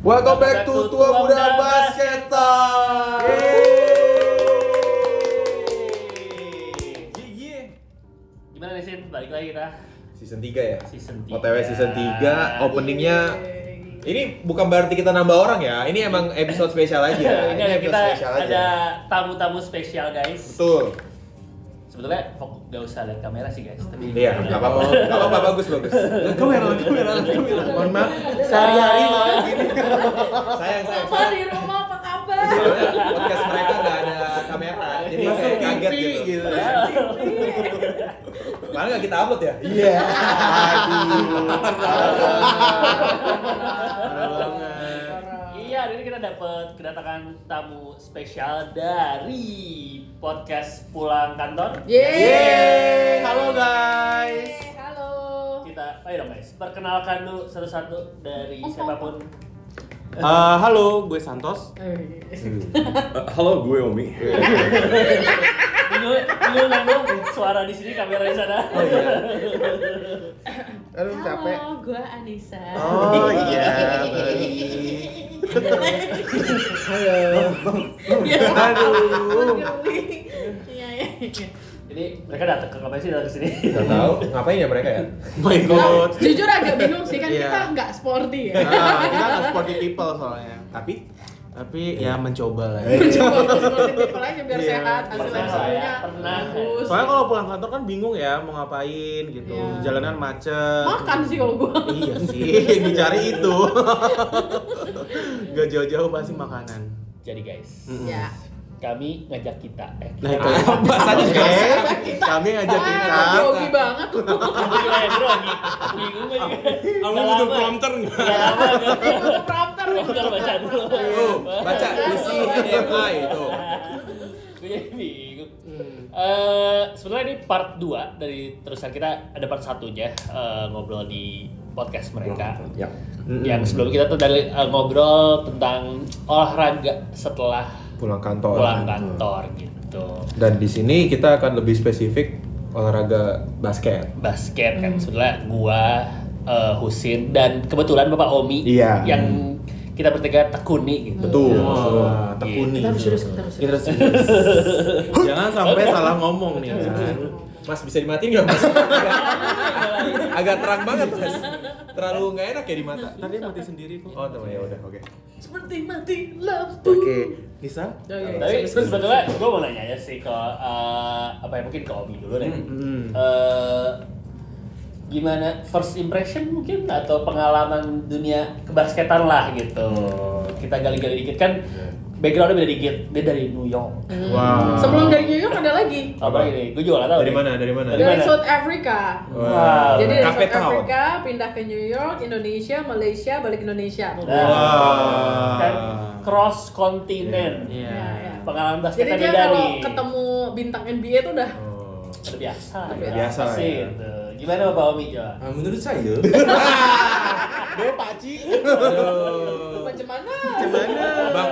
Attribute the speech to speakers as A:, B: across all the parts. A: Welcome back to Tua Muda Basket Talk.
B: Gigi. Gimana nih Sin? Balik lagi kita
A: Season 3 ya?
B: season Iya. 3.
A: OTW season 3, openingnya Ini bukan berarti kita nambah orang ya, ini emang episode spesial aja
B: Ini ada
A: episode
B: kita
A: spesial aja.
B: ada tamu-tamu spesial guys.
A: Betul
B: Sebetulnya fokus gak usah lihat kamera sih guys, tapi
A: Iya, nggak apa-apa, nggak apa-apa, bagus, bagus
C: kamera, kamera, kamera.
A: Mohon maaf, sehari-hari makan gini Sayang, sayang,
D: Apa
A: sayang
D: di rumah apa kabar?
A: Soalnya podcast mereka nggak ada kamera, jadi kayak
C: Masuk
A: kaget
C: TV
A: gitu
C: gitu.
A: Malah nggak kita upload ya?
C: Iya.
B: Iya, hari ini kita dapat kedatangan tamu spesial dari podcast Pulang Kantor.
D: Yeay.
A: Yeay, halo guys
D: Yeay, Halo.
B: Kita, ayo dong guys, perkenalkan dulu satu-satu dari siapapun.
C: Eh, halo, gue Santos.
A: Hmm.
E: Halo, gue Omi.
B: Lu lu ngomong suara di sini, kamera di sana.
A: Oh iya,
D: Halo, gue Anissa.
C: Oh iya.
D: Iya, Aduh. Iya iya. iya.
B: Jadi mereka datang ke kamar sih datang ke sini.
A: nggak tahu, ngapain ya mereka ya?
C: My God.
D: Jujur agak bingung sih kan
C: Iya.
D: kita nggak sporty ya.
C: Nah, kita kan sporty people soalnya.
A: Tapi
C: Tapi ya mencoba lah. Ya.
D: Mencoba untuk sporty people aja biar
C: Iya.
D: sehat,
B: Pernah
D: asuransinya
B: saya, pernah.
D: bagus.
C: Soalnya kalau pulang kantor kan bingung ya mau ngapain gitu.
D: Iya.
C: Jalanan macet.
D: makan sih kalau gue.
C: Iya sih, yang dicari itu. Gak jauh-jauh pasti makanan.
B: Jadi guys,
C: Mm-mm.
D: Ya.
B: kami ngajak kita. Eh,
C: Nah itu bahasanya
D: kita.
C: Kami ngajak kita.
D: Ah, grogi banget.
B: gila ya bro, bingung gue juga. Udah lama.
C: nggak?
B: Udah lama gua.
D: Ini prompter.
B: Bentar, baca dulu.
A: Oh, baca isi HDMI itu.
B: Oh. Gue jadi bingung. Eh, sebenarnya ini part 2 dari terusan kita ada part satunya eh, ngobrol di podcast mereka.
A: Ya.
B: Yang sebelum kita tuh dari eh, ngobrol tentang olahraga setelah
A: Pulang kantor.
B: pulang
C: kan.
B: kantor gitu.
A: Dan di sini kita akan lebih spesifik olahraga basket.
B: basket kan sebenarnya gua eh, Husin dan kebetulan Bapak Omi
A: Iya.
B: yang kita bertiga tekuni gitu.
A: Betul. Iya.
C: Wah, tekuni.
D: Kita harus serius, kita harus serius.
C: Jangan sampai salah ngomong nih kan.
A: Mas bisa dimatiin nggak mas? Agak terang banget mas. Terlalu nggak enak ya di mata.
C: Tadi mati sendiri kok.
A: Oh teman ya udah oke.
D: Seperti mati lampu.
C: Nisa?
D: Oke.
B: Tapi sebetulnya gua mau nanya aja sih ke eh, apa ya mungkin ke Omi dulu deh.
C: Hmm.
B: Eh, gimana first impression mungkin atau pengalaman dunia kebasketan lah gitu.
A: Hmm.
B: Kita gali-gali dikit kan
A: Iya.
B: backgroundnya beda dikit. Dia dari New York.
C: Wah.
D: Hmm. Sebelum dari New York ada lagi.
B: Apa ini? Gue juga gak tau.
A: Dari mana? Dari mana?
B: Dari-
D: Dari
B: mana?
D: South Africa.
B: Wow.
D: Jadi dari
A: Cape
D: South
A: Town.
D: Africa pindah ke New York, Indonesia, Malaysia, balik Indonesia.
B: Nah,
C: Wah.
B: kan cross kontinen.
C: Ah. Iya.
D: Ya, ya.
B: Pengalaman
D: Jadi
B: basketnya
D: dia
B: beda
D: kalau
B: nih.
D: ketemu bintang NBA itu udah
A: Oh.
B: Luar biasa.
A: Luar biasa
B: sih
A: ya.
B: itu. Gimana Bapak Omi coba?
E: Ah, menurut saya,
C: Dia paci.
A: Aduh.
D: macam mana?
A: Bang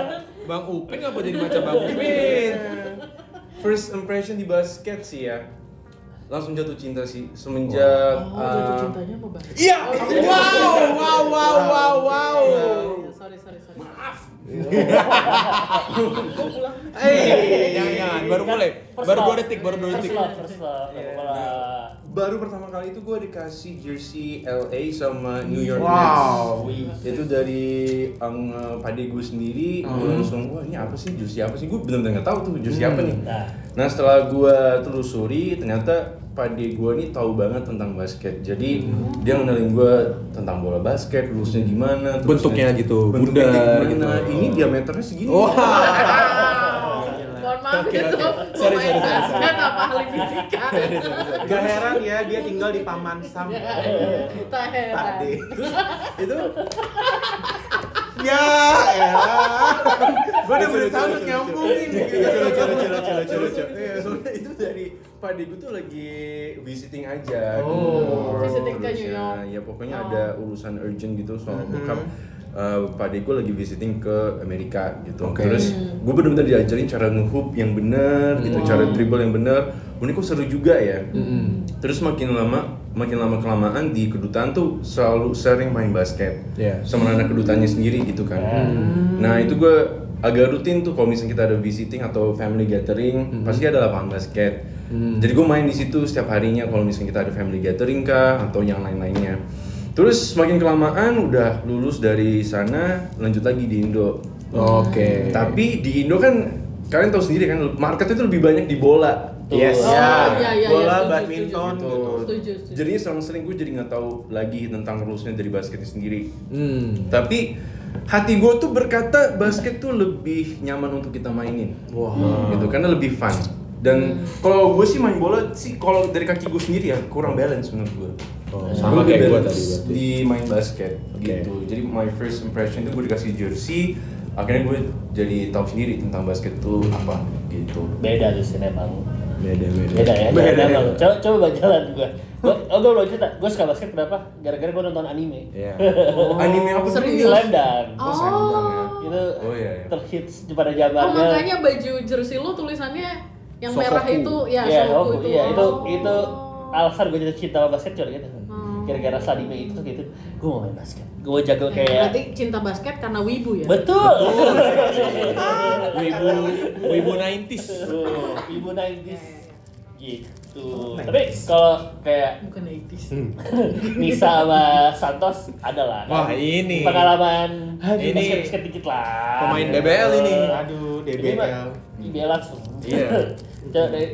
A: Bang Upin apa jadi macam Bang Upin?
E: first impression di basket sih ya. Langsung jatuh cinta sih semenjak
D: Oh,
E: ah,
C: uh,
D: jatuh cintanya sama basket.
E: Iya.
A: Wow wow wow wow wow.
D: Iya, sorry, sorry, sorry.
A: Eh, jangan baru mulai.
B: First
A: Baru
B: love.
A: 2 detik, baru 2 detik.
B: First love, first love. Sepak bola.
E: Baru pertama kali itu gue dikasih jersey LA sama New York
C: Wow.
E: Knicks. Itu dari um, pade gue sendiri.
A: Hmm.
E: Gue langsung wah ini apa sih jersey apa sih? Gue benar-benar nggak tahu tuh jersey apa nih.
B: Nah,
E: Nah setelah gua telusuri ternyata pade gua nih tahu banget tentang basket. Jadi
A: Hmm.
E: dia ngenalin gua tentang bola basket, lulusnya gimana, terus
A: Bentuknya
E: nanti-
A: gitu, bundar
E: bentuknya kayak gimana.
A: gitu.
E: Nah, Ini diameternya segini.
A: Wah.
D: Ah, Mohon maaf
A: Oke,
D: itu.
A: oke. Sorry,
D: pemain
A: sorry, sorry,
D: basket apa ahli fisika?
C: Gak heran ya dia tinggal di Paman Sam.
D: Kita heran.
C: Pade.
E: Itu
C: Ya, elah. Gua udah berusaha untuk nyambungin gitu.
E: Iya, soalnya itu dari pade gua tuh lagi visiting aja. gitu.
C: Oh.
D: Visiting ke New
E: Harusnya.
D: York.
E: Ya pokoknya
D: Oh.
E: ada urusan urgent gitu soal
A: Hmm.
C: Mhm.
E: bokap. Eh, pade gue lagi visiting ke Amerika gitu
A: Oke. Hmm.
D: Hmm.
E: terus gue bener-bener diajarin cara nge-hoop yang bener gitu cara dribble yang bener ini kok seru juga ya terus makin lama makin lama kelamaan di kedutaan tuh selalu sering main basket
A: Iya. Hmm.
E: sama anak kedutannya sendiri gitu kan nah itu gue agak rutin tuh kalau misalnya kita ada visiting atau family gathering pasti ada lapangan basket jadi gue main di situ setiap harinya kalau misalnya kita ada family gathering kah atau yang lain-lainnya terus makin kelamaan udah lulus dari sana lanjut lagi di Indo
A: Oke.
E: tapi di Indo kan kalian tahu sendiri kan market itu lebih banyak di bola.
C: Yes.
D: Oh,
C: Ya,
D: iya, iya,
C: bola,
D: setuju,
C: badminton,
A: gitu.
D: setuju. Setuju, setuju.
E: Jadi selama sering gue jadi nggak tahu lagi tentang rulesnya dari basketnya sendiri.
A: Hmm.
E: Tapi hati gue tuh berkata basket tuh lebih nyaman untuk kita mainin.
A: Wah.
E: Gitu karena lebih fun. Dan kalau gue sih main bola sih kalau dari kaki gue sendiri ya kurang balance menurut gue.
A: Oh, sama kayak
E: lebih
A: gue
E: balance
A: tadi berarti.
E: di main basket
A: Oke.
E: gitu. Jadi my first impression itu gue dikasih jersey, akhirnya gue jadi tahu sendiri tentang basket tuh apa gitu.
B: Beda di sini emang.
A: Beda beda.
B: Beda ya,
E: Beda,
B: beda,
E: ya.
B: Bang. Coba, coba Bang, jalan gua. Gua, oh gua belum cerita, gua suka basket kenapa? Gara-gara gua nonton anime.
A: Iya.
E: Anime apa tuh?
D: Serius?
B: Slam Dunk.
D: Oh.
B: Itu
E: Oh, iya, iya.
B: terhits pada
D: Oh,
B: zamannya.
D: makanya baju jersey lu tulisannya yang
B: Sokoku.
D: merah itu ya
B: Iya,
D: Sokoku
B: Sokoku.
D: itu.
B: Iya, itu
D: Oh.
B: itu alasan gue jadi cinta sama basket cuman gitu. Gara-gara anime itu tuh gitu. Gue mau main basket. Gue mau jago kayak
D: Berarti cinta basket karena wibu ya?
B: Betul.
A: Wibu Wibu 90s.
B: Tuh, Ibu
D: Iya,
B: 90s. Gitu.
C: Nice.
B: Tapi kalau kayak
D: Bukan 80s.
B: Hmm. Nisa sama Santos adalah
A: Wah, ini.
B: pengalaman
A: Aduh.
B: ini basket dikit lah.
A: Pemain DBL ini.
C: Aduh, DBL.
B: DBL langsung.
A: Iya.
B: Coba dari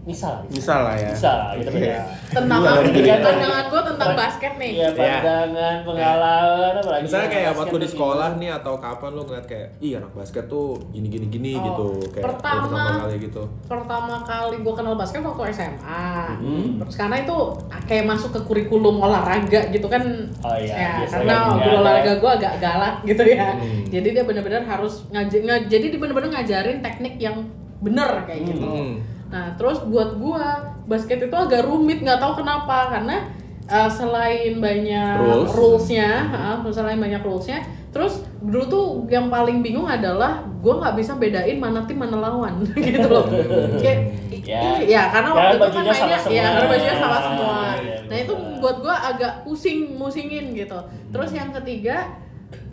B: Nisa.
C: Misal lah ya.
B: Nisa gitu
A: Iya.
C: Oke.
B: beda.
D: Tentang
C: Dua
D: apa?
C: dong,
B: jadi.
D: Pandangan gue tentang basket nih.
B: Iya, pandangan, pengalaman, apalagi.
A: Misalnya kayak
B: Iya, basket
A: waktu di
B: tuh
A: sekolah nih atau kapan lo ngeliat kayak ih anak basket tuh gini gini gini
D: Oh,
A: gitu kayak lo
D: pertama-
A: pertama kali gitu.
D: Pertama kali gue kenal basket waktu SMA.
B: Hmm.
D: Terus karena itu kayak masuk ke kurikulum olahraga gitu kan.
B: Oh iya,
D: Ya,
B: biasanya Hmm.
D: karena
B: kan
D: guru
B: ada.
D: olahraga gue agak galak gitu ya. Jadi dia benar-benar harus ngaji, nge- jadi dia benar-benar ngajarin teknik yang bener kayak gitu.
B: Hmm.
D: Nah, terus buat gua basket itu agak rumit, nggak tahu kenapa karena uh, selain banyak
A: Rules.
D: rulesnya, uh, selain banyak rulesnya, terus dulu tuh yang paling bingung adalah gua nggak bisa bedain mana tim mana lawan gitu loh. Kayak i-
B: Ya.
D: iya,
B: Karena
D: karena waktu itu kan
B: bajunya
D: mainnya,
B: sama
D: ya
B: semua.
D: karena bajunya sama semua.
B: Iya,
D: Nah itu
B: betul.
D: buat gua agak pusing musingin gitu. Terus yang ketiga,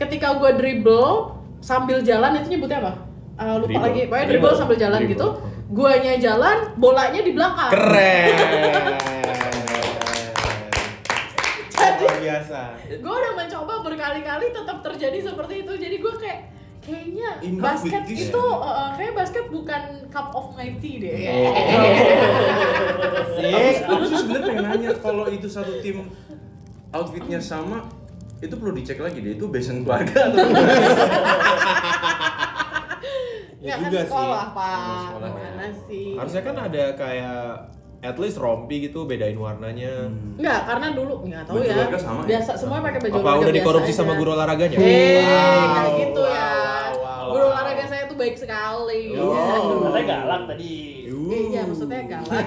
D: ketika gua dribble sambil jalan itu nyebutnya apa? Uh, lupa
E: Dribble.
D: lagi, pokoknya dribble
E: Dribble.
D: sambil jalan
E: Dribble.
D: gitu guanya jalan, bolanya di belakang.
A: Keren.
C: Luar biasa.
D: Gue udah mencoba berkali-kali tetap terjadi seperti itu. Jadi gue kayak kayaknya
E: Enough
D: basket
E: with this.
D: itu eh, kayak basket bukan cup of my tea
A: Oh.
D: deh. Ya
E: Aku- Aku sih sebenarnya pengen nanya kalau itu satu tim outfitnya sama itu perlu dicek lagi deh itu basement keluarga atau enggak?
D: Ya,
C: Ya
D: kan
C: juga sih.
D: sekolah, Pak.
E: Emang sekolah ya.
D: Mana sih?
A: Harusnya kan ada kayak at least rompi gitu bedain warnanya.
E: Hmm.
D: Enggak, karena dulu nggak tahu
E: Baju
D: ya.
E: olahraga sama ya?
D: Biasa semua pakai baju
A: Apa
D: olahraga
A: udah
D: biasa
A: dikorupsi
D: aja.
A: sama guru olahraganya?
D: Hei,
A: Iya. Wow.
D: nggak gitu ya.
A: Wow, wow,
D: Guru
A: wow.
D: olahraga saya tuh baik sekali.
A: Oh.
D: Aduh.
B: Katanya galak tadi.
D: Iya, maksudnya galak.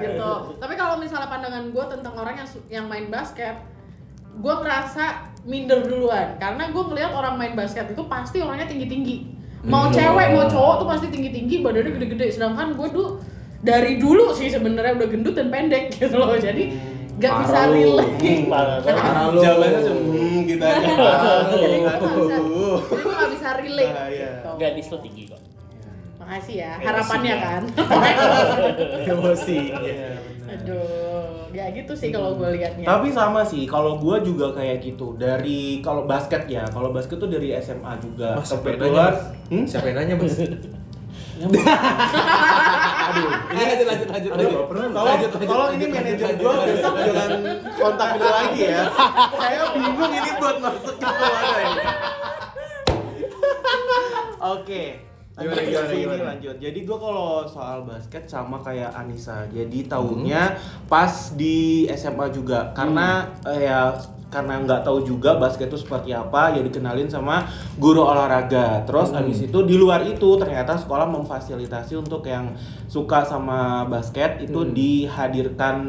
D: gitu. Tapi kalau misalnya pandangan gue tentang orang yang su- yang main basket, gue ngerasa minder duluan karena gue ngelihat orang main basket itu pasti orangnya tinggi tinggi. Mau
A: Hmm.
D: cewek mau cowok tuh pasti tinggi tinggi, badannya gede gede. Sedangkan gue tuh dari dulu sih sebenarnya udah gendut dan pendek gitu loh. Jadi gak bisa
A: Parah lu.
D: relate.
B: Parah.
A: Parah lu.
C: Jawabannya cuma hmm gitu aja.
D: Jadi gue gak bisa,
C: Aduh.
D: jadi gue gak bisa relate.
C: Bahaya.
D: gitu.
B: Gadis lo tinggi kok.
D: Makasih ya, harapannya kan.
C: Iya, benar.
D: Aduh, ya gitu sih kalau gue liatnya.
C: Hmm. Tapi sama sih, kalau gua juga kayak gitu. Dari kalau basket ya, kalau basket tuh dari SMA juga.
A: Mas, siapa yang
C: Kebetulan,
A: nanya,
C: hmm?
A: Siapa yang nanya, Mas?
C: Aduh.
A: Ini lanjut lanjut lanjut
C: Aduh,
A: lanjut.
C: tolong,
A: Lanjut, lanjut,
C: tolong
A: lanjut,
C: ini manajer
A: lanjut,
C: gua
A: lanjut.
C: besok jangan kontak dia lagi ya. Saya bingung ini buat masuk ke mana ya. ini. Oke. Lanjut,
A: Gimana, gimana,
C: ini
A: gimana?
C: lanjut. Jadi gua kalau soal basket sama kayak Anissa. Jadi tahunnya pas di SMA juga karena eh, ya karena nggak tahu juga basket itu seperti apa ya dikenalin sama guru olahraga terus habis itu di luar itu ternyata sekolah memfasilitasi untuk yang suka sama basket itu dihadirkan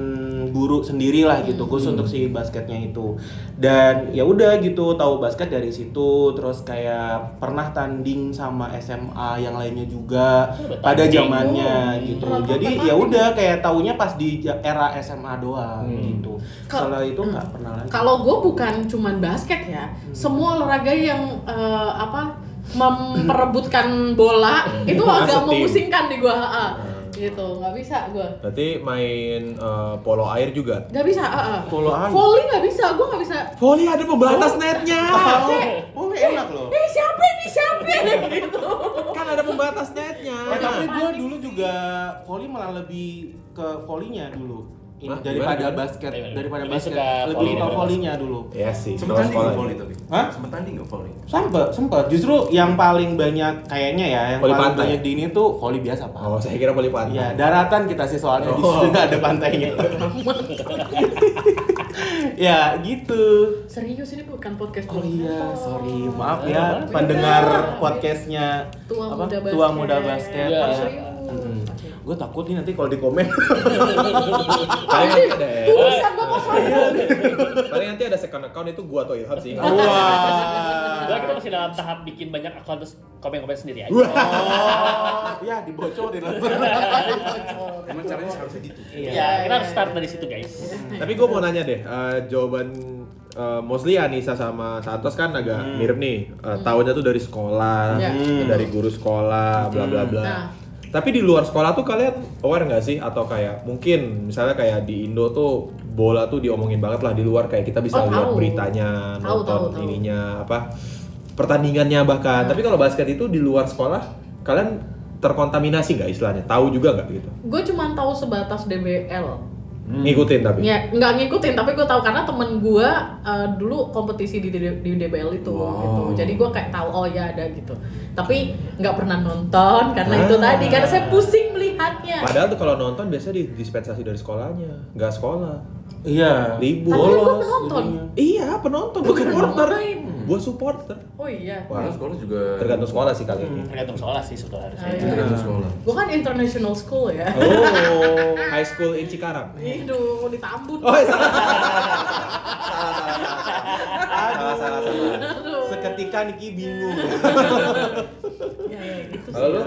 C: guru sendirilah gitu khusus untuk si basketnya itu dan ya udah gitu tahu basket dari situ terus kayak pernah tanding sama SMA yang lainnya juga pada
B: tanding.
C: zamannya
D: Oh,
C: gitu
D: pernah
C: jadi
D: tanding.
C: ya udah kayak taunya pas di ja- era SMA doang gitu
D: Kal-
C: setelah itu nggak pernah lagi
D: Kalau gue bukan cuman basket ya,
C: Hmm.
D: semua olahraga yang eh, apa memperebutkan bola itu agak
C: Hmm. Masuk tim. Hmm.
D: memusingkan di gue. Gitu, nggak bisa gue.
A: Berarti main eh, polo air juga.
D: Nggak bisa. ah, ah.
C: Polo air.
D: Volley nggak bisa, gue nggak bisa.
A: Volley ada pembatas netnya.
C: oh enak loh
D: Ini Eh, siapa ini siapa gitu.
A: Kan ada pembatas netnya.
C: Eh, tapi gue dulu juga volley malah lebih ke volleynya dulu ini
A: Hah?
C: daripada
A: Gimana?
C: basket
B: Gimana?
C: daripada
B: Lebih
C: basket
B: suka
C: lebih
B: volley
C: suka
B: daripada
C: volleynya dulu
A: Iya sih.
E: Sempet
A: kalau
E: tanding nggak
A: sekolah.
E: volley tapi?
C: Hah?
E: Sempet tanding nggak volley?
C: sempet sempet justru yang paling banyak kayaknya ya yang
A: Volley
C: paling
A: pantai.
C: banyak di ini tuh volley biasa pak
A: Oh, saya kira volley pantai.
C: Iya, daratan kita sih soalnya di
A: Oh.
C: situ nggak ada pantainya. ya, gitu.
D: Serius ini bukan podcast
C: Oh
D: profesional.
C: iya, sorry, maaf
A: Iya.
B: Nggak
C: ya
B: apa-apa.
C: pendengar podcastnya
D: Tua
C: apa?
D: muda basket.
C: Tua muda basket.
B: Iya.
D: Oh,
C: Ya.
D: serius.
C: Gue takut nih nanti kalau di komen.
A: Paling nanti ada ya.
D: Tulisan gue pas
A: paling nanti ada second account itu gua atau Ilham sih.
B: Enggak, kita
C: Wah.
B: masih dalam tahap bikin banyak akun terus komen-komen sendiri aja.
C: Oh, ya dibocorin lah.
E: Emang caranya seharusnya gitu?
B: Iya, kita harus start dari situ guys.
D: Hmm.
A: Tapi gue mau nanya deh, eh, jawaban eh, mostly Anissa sama Santos kan agak mirip nih. Eh, Tahunya tuh dari sekolah,
D: Hmm. Ya.
A: eh, dari guru sekolah, bla bla bla.
D: Nah.
A: Tapi di luar sekolah tuh kalian aware nggak sih atau kayak mungkin misalnya kayak di Indo tuh bola tuh diomongin banget lah di luar kayak kita bisa
D: Oh,
A: lihat
D: tahu.
A: beritanya,
D: Tahu,
A: nonton
D: tahu, Hmm. tahu.
A: ininya apa pertandingannya bahkan. Tapi kalau basket itu di luar sekolah kalian terkontaminasi nggak istilahnya? Tahu juga nggak gitu?
D: Gue cuma tahu sebatas DBL.
A: Ngikutin tapi.
D: Ya, nggak ngikutin tapi gue tahu karena temen gue eh, dulu kompetisi di, D- di DBL itu gitu. Jadi gue kayak tahu oh ya ada gitu. Tapi nggak pernah nonton karena itu
A: Ah.
D: tadi karena saya pusing melihatnya.
A: Padahal tuh kalau nonton biasanya di dispensasi dari sekolahnya, nggak sekolah.
C: Iya.
A: Libur.
D: Tapi kan gue
C: Bolos
D: penonton.
C: jadinya.
A: Iya, penonton, gue supporter.
D: ngapain.
A: Gue supporter.
D: Oh iya.
E: Padahal
A: Hmm.
E: sekolah juga
A: Tergantung sekolah sih kali ini.
B: Tergantung sekolah sih sudah
D: Ah,
B: harusnya.
D: iya.
E: Tergantung sekolah
D: Gue kan international school ya.
A: Oh, high school in Cikarang.
D: Aduh, ditambun.
A: Oh, iya, salah.
C: Aduh.
D: Aduh.
C: Seketika Niki bingung.
D: Ya, ya, gitu sih.
E: Kalau lu?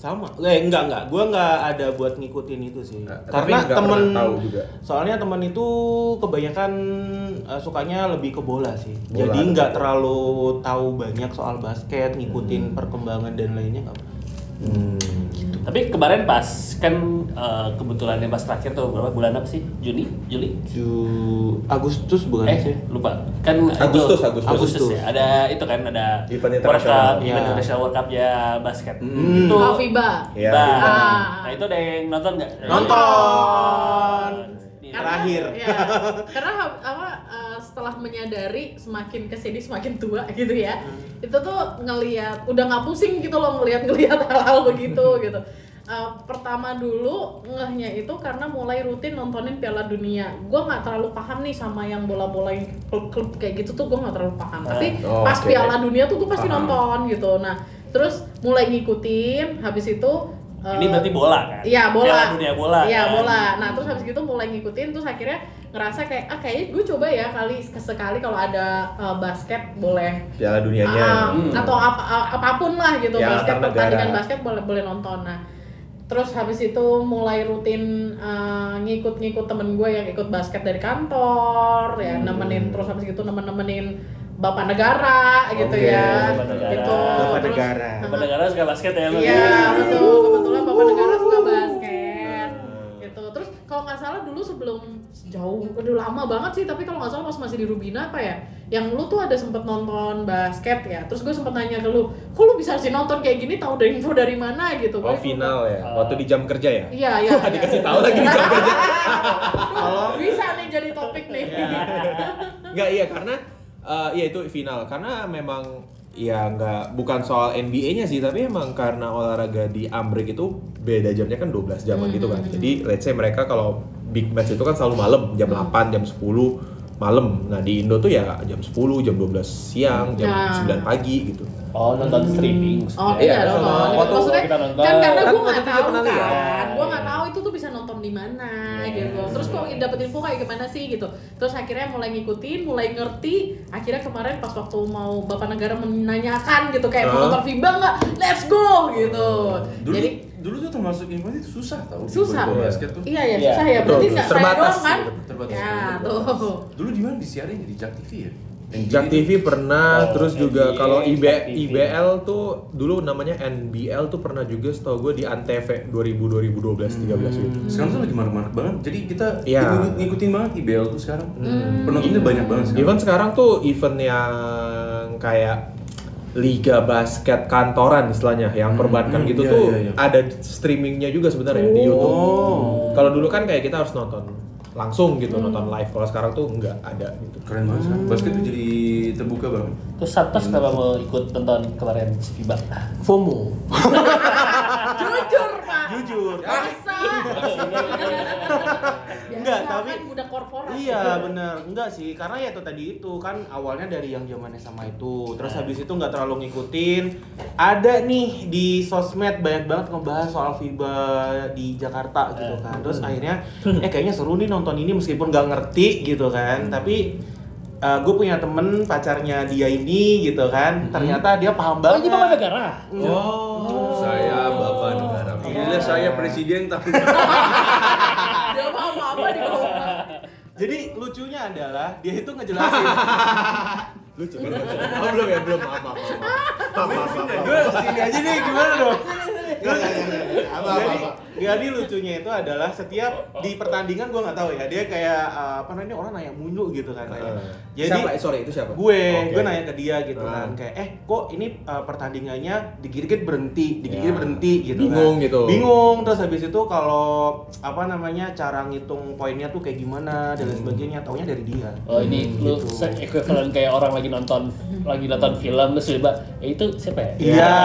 C: sama eh enggak enggak gua enggak ada buat ngikutin itu sih
E: Nah, tapi
C: karena
E: nggak
C: temen
E: pernah tahu juga.
C: soalnya temen itu kebanyakan eh, sukanya lebih ke bola sih
E: Bola. Hmm.
C: jadi nggak terlalu tahu banyak soal basket ngikutin perkembangan dan lainnya nggak pernah.
B: Tapi kemarin pas kan eh, kebetulan yang pas terakhir tuh berapa bulan apa sih? Juni, Juli?
C: Ju- Agustus bukan sih
B: Eh, lupa. Kan itu-
A: Agustus, Agustus.
B: Agustus Iya. ya. Ada itu kan ada
E: Event
B: World
E: internasional. Hmm.
B: Cup,
C: Ya.
B: event internasional World Cup ya basket. Itu
D: Oh, FIBA.
E: Iya.
B: Bah.
D: Ah.
B: Nah, itu ada yang nonton nggak?
C: nonton
E: Iya.
C: terakhir
D: ya, karena ha- apa eh, setelah menyadari semakin kesini semakin tua gitu ya
E: Hmm.
D: itu tuh ngelihat udah nggak pusing gitu loh ngelihat ngelihat hal-hal begitu gitu Eh, pertama dulu ngehnya itu karena mulai rutin nontonin Piala Dunia gue nggak terlalu paham nih sama yang bola-bola yang klub-klub kayak gitu tuh gue nggak terlalu paham tapi
E: Oh,
D: pas
E: oke.
D: Piala Dunia tuh gue pasti
E: Paham.
D: nonton gitu nah terus mulai ngikutin habis itu eh,
B: Ini berarti bola kan?
D: Iya bola.
B: Piala dunia bola.
D: Iya
B: kan?
D: bola. Nah terus habis gitu mulai ngikutin terus akhirnya ngerasa kayak ah kayaknya gue coba ya kali sekali kalau ada uh, basket boleh
E: Piala dunianya
C: ya.
D: Ah,
E: Hmm.
D: atau apa a- apapun lah gitu
E: Ya,
D: basket
E: antar negara.
D: pertandingan basket boleh boleh nonton. Nah terus habis itu mulai rutin uh, ngikut-ngikut temen gue yang ikut basket dari kantor ya nemenin terus habis gitu nemen-nemenin bapak negara gitu
E: Oke,
D: ya
B: bapak negara.
D: gitu
C: Bapak
D: Terus-
C: negara.
D: Nah,
B: Bapak negara suka basket ya. Bang?
D: Iya betul Uh. kebetulan bapak negara suka basket gitu. Terus kalau nggak salah dulu sebelum jauh udah lama banget sih tapi kalau nggak salah pas masih di Rubina apa ya, yang lu tuh ada sempet nonton basket ya. Terus gue sempet nanya ke lu, kok lu bisa sih nonton kayak gini? Tahu dari info dari mana gitu?
A: Oh,
D: Gua-
A: final ya. Waktu di jam kerja ya.
D: Iya iya. iya.
A: Dikasih tahu lagi di jam kerja.
D: Aduh, bisa nih jadi topik nih.
A: Iya. Nggak iya karena eh, iya itu final karena memang ya nggak bukan soal NBA-nya sih tapi emang karena olahraga di Amrik itu beda jamnya kan 12 jaman gitu kan. Jadi let's say mereka kalau big match itu kan selalu malam jam 8, jam 10 malam. Nah di Indo tuh ya jam 10, jam 12 siang, jam
D: Nah.
A: 9 pagi gitu.
B: Oh nonton streaming.
D: Oh
A: Iya,
D: iya, dong.
A: nonton.
D: Gitu. Maksudnya
B: ya, Kita nonton.
D: kan karena
A: Kan
D: gue nggak
A: waktu itu
D: tahu
A: pernah lihat.
D: kan, gue nggak tahu itu tuh bisa nonton di mana gitu. Terus kok dapet info kayak gimana sih gitu. Terus akhirnya mulai ngikutin, mulai ngerti. Akhirnya kemarin pas waktu mau bapak negara menanyakan gitu kayak
A: Huh?
D: mau nonton FIBA nggak, let's go gitu.
E: Dulu,
D: Jadi
E: dulu tuh termasuk informasi susah tau
D: Susah.
E: Bola basket tuh
D: iya ya
B: Iya,
D: susah ya,
A: betul,
D: berarti
A: betul.
D: nggak saya
A: Terbatas,
D: doang kan?
E: terbatas.
D: Ya
E: Terbatas.
D: tuh.
E: Dulu di mana disiarin ya? Di Jak TV ya?
A: Jak TV pernah,
B: Oh,
A: terus juga
B: NBA,
A: kalau IB,
B: Jak TV.
A: IBL tuh dulu namanya NBL tuh pernah juga setahu gue di Antv 2000 2012 13 gitu.
E: Hmm. Sekarang tuh lagi marak-marak banget. Jadi kita
A: Iya.
E: ngikut- ngikutin banget IBL tuh sekarang. Penontonnya banyak banget sekarang.
A: Even sekarang tuh event yang kayak liga basket kantoran istilahnya yang perbankan
E: hmm,
A: gitu
E: iya,
A: tuh
E: iya, iya.
A: ada streamingnya juga sebenarnya di YouTube. Kalau dulu kan kayak kita harus nonton langsung gitu nonton live. Kalau sekarang tuh nggak ada gitu.
E: Keren banget sekarang. Basket tuh jadi terbuka banget.
B: Terus Santos kenapa mau ikut nonton kemarin si FIBA?
C: FOMO.
D: Jujur pak.
C: Jujur.
D: Biasa.
C: Enggak,
D: Biasa,
C: tapi-
D: kan budak korporat.
C: Iya bener, enggak sih karena ya itu tadi itu kan awalnya dari yang zamannya sama itu
B: Nah.
C: Terus habis itu nggak terlalu ngikutin Ada nih di sosmed banyak banget ngebahas soal FIBA di Jakarta gitu
B: Nah.
C: kan Terus akhirnya eh kayaknya seru nih nonton ini meskipun nggak ngerti gitu
B: Hmm.
C: kan Tapi gue punya temen pacarnya dia ini gitu kan Ternyata dia paham
B: Hmm. Oh,
C: banget
B: ini bapak negara.
A: Oh.
E: Saya Bapak Negara. Alhamdulillah saya presiden tapi
D: Dia mau apa di bawah.
C: Jadi lucunya adalah dia itu ngejelasin
A: Lucu. Oh, belum ya, belum. Maaf, maaf, maaf. Maaf, maaf, maaf.
C: Gue sini aja nih gimana dong
A: Apa, apa,
C: jadi,
A: apa.
C: jadi lucunya itu adalah setiap di pertandingan gue nggak tahu ya dia kayak eh, apa namanya orang nanya mulu gitu kan nanya.
A: Eh,
C: jadi
A: siapa? Sorry, itu siapa?
C: gue
A: Oke.
C: gue nanya ke dia gitu
A: Ah.
C: kan kayak eh kok ini eh, pertandingannya dikit-dikit berhenti dikit-dikit
A: Ya.
C: berhenti gitu kan.
A: Bingung gitu.
C: bingung terus habis itu kalau apa namanya cara ngitung poinnya tuh kayak gimana dan lain
A: Hmm.
C: sebagainya taunya dari dia
B: Oh ini
C: Hmm,
B: lu
C: gitu.
B: se- equivalent kayak orang lagi nonton
D: Hmm.
B: lagi nonton film terus tiba ya itu siapa ya?
C: iya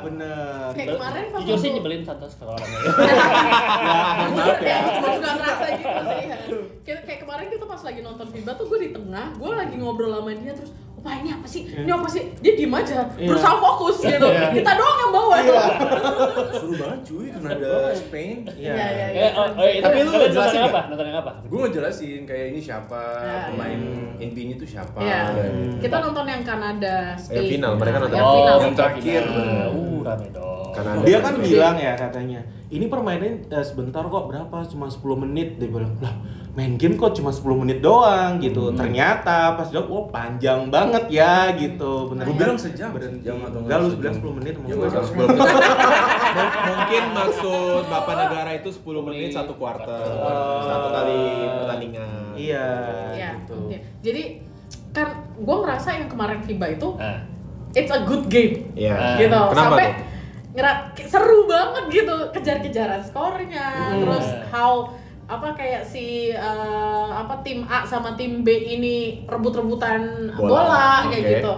C: bener
D: Kayak kemarin pas Iya,
B: Jujur sih
D: waktu-
B: nyebelin Santos kalau orangnya.
D: Jujur ya, gue juga ngerasa gitu sih Kayak, kayak kemarin kita pas lagi nonton FIBA tuh gue di tengah, gue lagi ngobrol sama dia terus Wah ini apa sih? Ini apa sih? Dia diem aja, berusaha fokus gitu
B: Iya.
D: Kita doang yang bawa
E: seru banget cuy Kanada Spain.
D: Iya,
C: Iya.
D: iya, iya
B: Eh, oh, oh, itu
A: Tapi lu
B: kalian nonton
A: jelasin
B: yang
A: nggak?
B: apa? Nonton yang apa?
E: Gue ngejelasin kayak ini siapa,
D: Ya.
E: pemain intinya tuh siapa.
D: Iya.
E: gitu.
D: Kita nonton yang Kanada, Spain
A: Yang final, mereka nonton Oh,
D: Yang final
E: yang terakhir.
B: Oh, final. Uh, rame dong.
A: Karena ada- Iya.
C: dia kan bilang ya katanya ini permainan eh, sebentar kok berapa cuma 10 menit dia bilang lah main game kok cuma 10 menit doang
E: Hmm.
C: gitu ternyata pas jawab wah panjang banget ya gitu bener
E: Gua bilang sejam, sejam atau
C: enggak lu
E: sejam.
C: bilang 10 menit mau
E: Ya,
C: gua.
E: gua bilang 10 menit.
A: M- mungkin maksud Bapak Negara itu 10 menit satu kuarter. Oh. Satu kali pertandingan.
C: iya
D: Iya,
C: gitu
D: oke. Jadi kan gue ngerasa yang kemarin FIBA itu
B: Ah.
D: It's a good game
A: Iya.
B: Eh,
D: gitu
A: Kenapa
D: sampai
A: tuh?
D: ngera- seru banget gitu kejar-kejaran skornya
B: Hmm.
D: terus how apa kayak si eh, apa tim A sama tim B ini rebut-rebutan bola,
A: Bola,
D: kayak
A: oke.
D: gitu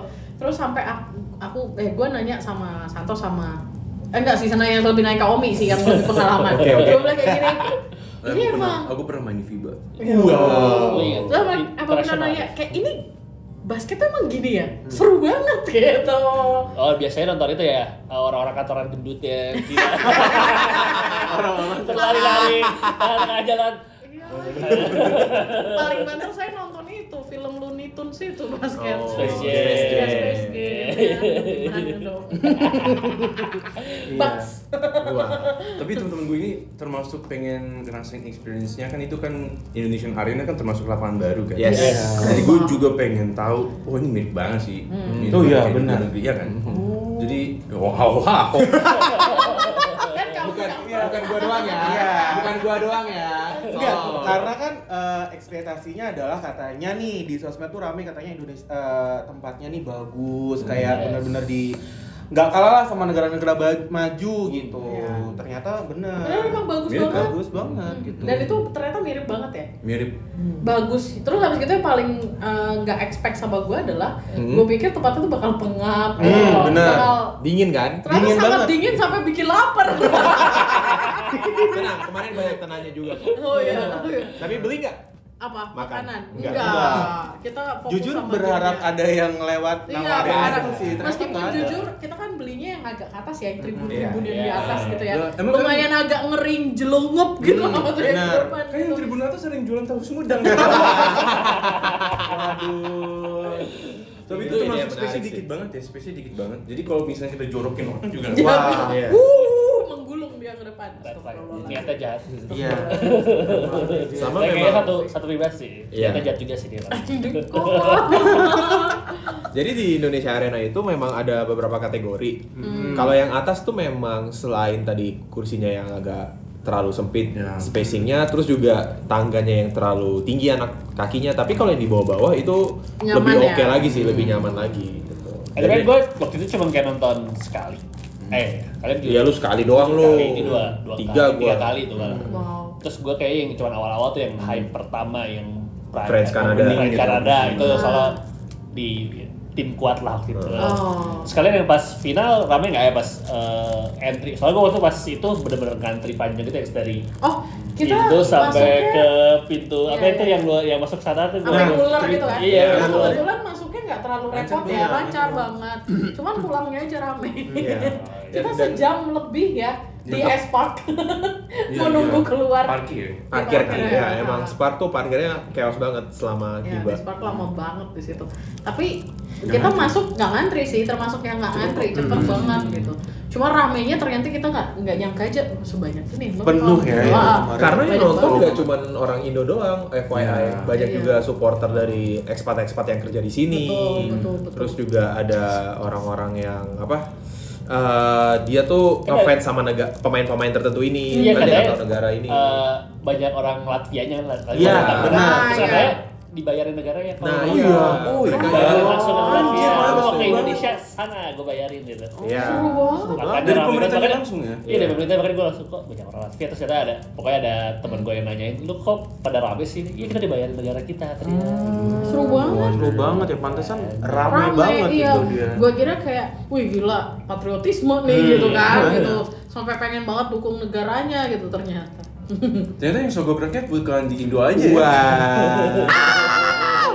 D: terus sampai aku, aku eh gue nanya sama Santo sama eh enggak sih sana yang lebih naik Kaomi sih yang lebih pengalaman
A: Oke, oke.
D: gue bilang kayak gini
E: Aku
D: ini
E: pernah,
D: emang
E: aku pernah main di FIBA.
B: Wow.
D: Terus apa apa pernah nanya kayak ini basketnya emang gini ya
A: Hmm.
D: seru banget gitu
B: Oh biasanya nonton itu ya orang-orang kantoran gendut ya orang-orang terlari-lari tengah-tengah jalan.
D: Iya lagi. Paling bandel saya nonton itu film Looney Tunes itu basket.
A: Oh,
B: Space Jam.
D: Space Jam, Space Jam. Ya, gimana dong?
C: Iya.
D: Bugs.
A: Wah.
E: Tapi temen-temen gue ini termasuk pengen ngerasain experience-nya kan itu kan Indonesian Arena kan termasuk lapangan baru kan.
A: Yes.
C: Yes.
E: Jadi gue juga pengen tahu, oh ini mirip banget sih. Mirip
C: Oh iya,
E: kayak di
C: benar.
E: luar negeri, Iya kan. Jadi wow wow.
D: Kan kamu
A: Bukan,
D: kamu-
A: bukan gua doang ya.
C: Iya.
A: Bukan gua doang ya.
C: Enggak,
A: Oh.
C: karena kan eh, ekspektasinya adalah katanya nih di sosmed tuh rame katanya Indonesia eh, tempatnya nih bagus
E: Hmm.
C: kayak
B: Yes.
C: bener-bener di nggak kalah lah sama negara-negara ba- maju gitu.
D: Iya.
C: Ternyata bener.
D: Padahal emang bagus
E: Mirip Hmm.
D: banget.
C: bagus banget gitu.
D: Dan itu ternyata mirip banget ya.
E: Mirip
D: Bagus. Terus habis gitu yang paling eh, nggak expect sama gue adalah gue pikir tempatnya tuh bakal pengap,
C: Hmm,
D: gitu.
C: bener.
D: bakal
A: Dingin kan?
D: ternyata
C: Dingin
D: sangat
C: banget.
D: dingin sampai bikin lapar.
A: Tenang, kemarin banyak tenanya juga kok.
D: oh iya. oh iya.
A: Tapi beli nggak? Makan.
D: apa makanan
A: Enggak.
D: enggak,
C: Enggak.
D: kita fokus
C: Jujur
D: sama
C: berharap
D: dirinya.
C: ada yang lewat
D: Iya,
C: nawarin
D: berharap.
C: itu sih. ternyata
D: Meskipun
C: nggak ada.
D: jujur, kita kan belinya yang agak ke atas ya, yang
A: Iya,
D: tribun-tribun yang
B: iya.
D: di atas gitu ya.
E: Loh, emang
D: Lumayan agak ngering jelungup gitu
C: Hmm,
D: sama tuh yang
C: benar.
D: depan
E: Kayak yang
D: gitu.
E: tribun atas sering jualan tahu sumedang.
C: Aduh.
E: Tapi
A: Itu
E: itu
A: ide
E: termasuk
A: yang
E: spesies
A: menarik
E: dikit
A: sih.
E: banget ya, spesies dikit banget. Jadi kalau misalnya kita jorokin orang juga
D: Iya.
E: wah.
C: Ah,
A: iya.
D: Wuh, Uh, menggulung dia ke depan.
B: Nah, Niatnya jahat.
C: Iya.
A: Sama
B: Tapi kayaknya
A: memang-
B: satu satu pribadi sih.
A: Iya.
B: Niatnya jahat juga sih dia. Pak.
A: Jadi di Indonesia Arena itu memang ada beberapa kategori.
D: Hmm.
A: Kalau yang atas tuh memang selain tadi kursinya yang agak terlalu sempit
E: Ya.
A: spacingnya, terus juga tangganya yang terlalu tinggi anak kakinya. Tapi kalau yang di bawah-bawah itu
D: Nyaman
A: lebih
D: ya?
A: oke lagi sih, lebih
C: Hmm.
A: nyaman lagi. Gitu.
B: Eh, tapi gue waktu itu cuma kayak nonton sekali. Eh, kalian juga.
A: Iya lu sekali doang lu.
B: Sekali, ini dua, dua
A: tiga
B: kali,
A: gua. Hmm.
B: tiga kali tuh malah.
D: Wow.
B: Terus gue kayak yang cuman awal-awal tuh yang hype pertama yang Pride-
A: Friends Hmm. Kanada.
B: Friends
E: Gitu.
B: Kanada itu
D: Ah.
B: soalnya di tim kuat lah waktu itu.
A: Hmm.
D: Oh.
B: Sekalian yang pas final rame nggak ya pas eh, entry. Soalnya gue waktu pas itu bener-bener ngantri panjang gitu ya dari
D: Oh, kita
B: pintu sampai
D: masuknya-
B: ke pintu apa
D: Iya,
B: itu
D: iya.
B: yang lu- yang masuk sana tuh
D: sampai
B: gua-
D: ular gitu kan.
B: Iya,
D: Nah,
B: ular.
D: kebetulan masuknya nggak terlalu
C: Lancar
D: repot ya,
C: banget.
D: lancar banget. Cuman pulangnya aja rame.
A: Iya.
D: Kita
A: Dan-
D: sejam lebih ya di
E: Iya.
D: S Park
E: Iya,
D: menunggu
E: iya.
D: keluar.
E: Parkir.
A: parkir kan
D: Parkir,
A: ya,
D: ya.
A: emang Spark tuh parkirnya chaos banget selama
D: Ya,
A: tiba.
D: di Spark lama banget di situ. Tapi kita masuk nggak ngantri sih, termasuk yang nggak ngantri, cepet banget gitu. Cuma ramenya ternyata kita nggak nggak nyangka aja "Oh, sebanyak ini. nonton."
C: Penuh ya,
A: Iya,
C: ya,
D: Wah,
C: kemarin.
A: Karena yang
D: banyak
A: nonton
D: banget.
A: nggak cuma orang Indo doang, FYI,
E: Iya.
A: banyak
D: Iya.
A: juga supporter dari ekspat-ekspat yang kerja di sini.
D: Betul, betul, betul.
A: Terus juga ada orang-orang yang apa? eh, dia tuh
B: Kan ada-
A: ngefans sama nega- pemain-pemain tertentu ini,
B: Iya
A: negara
D: kan?
B: katanya
A: atau negara ini.
B: eh, banyak orang Latvianya Latvia
C: Iya,
B: benar.
C: nah,
B: Terus
D: iya.
B: katanya dibayarin negaranya. kalau
A: nah,
B: mau.
A: iya.
E: Oh, iya.
B: Bayarin langsung ke Latvia.
C: Anjir,
D: iya,
B: Lu
C: bagus
B: mau ke
C: banget.
B: Indonesia sana gue bayarin gitu.
A: Iya.
D: Seru banget.
B: Makanya
E: Dari
B: rame
E: pemerintah
B: banget.
E: langsung ya?
B: Iya dari pemerintah makanya gue langsung kok banyak orang Latvia terus ternyata ada pokoknya ada teman gue yang nanyain lu kok pada rame sih? Iya kita dibayarin negara kita tadi.
D: Seru banget.
C: Seru banget ya pantesan rame,
D: Ramai
C: banget
D: iya.
C: itu dia.
D: Gue kira kayak, wih gila patriotisme nih gitu kan,
C: iya.
D: gitu sampai pengen banget dukung negaranya gitu ternyata.
E: Ternyata yang sogok rakyat bukan di Indo
C: Iya.
E: aja ya.
D: Iya, gitu.
C: Wah.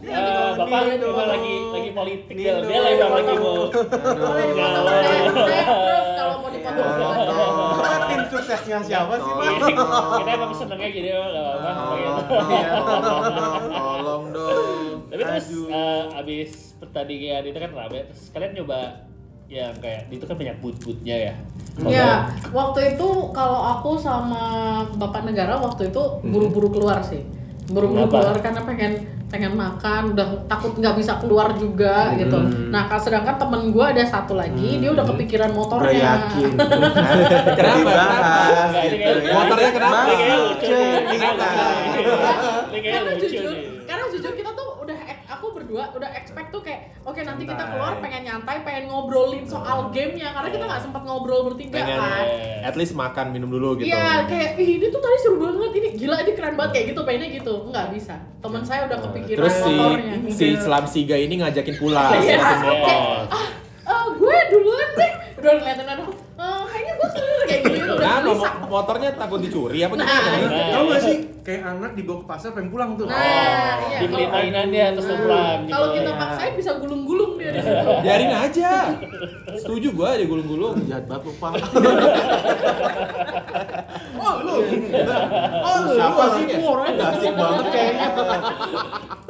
B: Eh, bapak
D: Iya,
B: memang
D: gitu.
B: lagi lagi politik dia, dia lagi memang lagi mau
D: Boleh dipotong
B: Kalau-
D: saya, saya approve kalau mau dipotong saya.
C: Tim suksesnya siapa sih, Pak?
B: Iya, kita emang senengnya jadi apa
C: Oh, Iya.
A: Tolong dong.
B: tapi terus eh, abis pertandingan itu kan rame terus kalian nyoba yang kayak itu kan banyak boot-bootnya ya
D: Ya, waktu itu kalau aku sama Bapak Negara waktu itu buru-buru keluar sih. Buru-buru
B: Kenapa?
D: keluar karena pengen pengen makan, udah takut nggak bisa keluar juga gitu. Nah, kalau sedangkan temen gue ada satu lagi, dia udah kepikiran
C: Udah
D: motornya.
C: yakin. Kenapa? Dibahas
B: Nggak, ini
C: gitu
B: kayak-
C: ya.
A: Motornya kenapa?
B: Ini kayaknya
C: Masuk
B: lucu nih. Ini
C: cerita.
B: Ini kayaknya
D: karena
B: lucu
D: jujur,
B: nih.
D: karena jujur kita tuh udah ek- aku berdua udah expect tuh kayak oke nanti kita keluar pengen nyantai, pengen ngobrolin soal gamenya karena kita
B: Iya.
D: nggak sempat ngobrol bertiga
A: Pengen
D: kan.
A: at least makan minum dulu gitu.
D: Iya, kayak "Ih, ini tuh tadi seru banget, ini gila ini keren banget kayak gitu, pengennya gitu. Enggak bisa. Teman saya udah kepikiran
A: Nah, Terus si
D: motornya.
A: si Selam Siga ini ngajakin pulang.
D: Iya.
A: Ngajakin
B: Iya.
A: motor.
D: "Eh, gue duluan deh. Udah ngeliatin aduh. Eh, kayaknya gue seru kayak gitu udah
A: Nah, nomor-
D: gelisah.
A: motornya takut dicuri apa
D: Nah,
E: Iya.
A: gimana?
B: Nah,
E: Tahu gak sih kayak anak dibawa ke pasar pengen pulang tuh.
D: Nah, iya.
A: gitu,
B: dibeli
D: Kalau-
B: mainannya terus lo
D: Nah,
B: pulang gitu.
D: Kalau kita
B: Ya.
D: paksain bisa gulung-gulung dia di situ.
A: Biarin aja. Setuju gua digulung-gulung.
C: Jahat banget lu, Pak.
A: Oh lu. Oh
C: Lu Siapa
D: iya,
C: sih
A: orangnya?
C: lu orangnya gak asik banget kayaknya.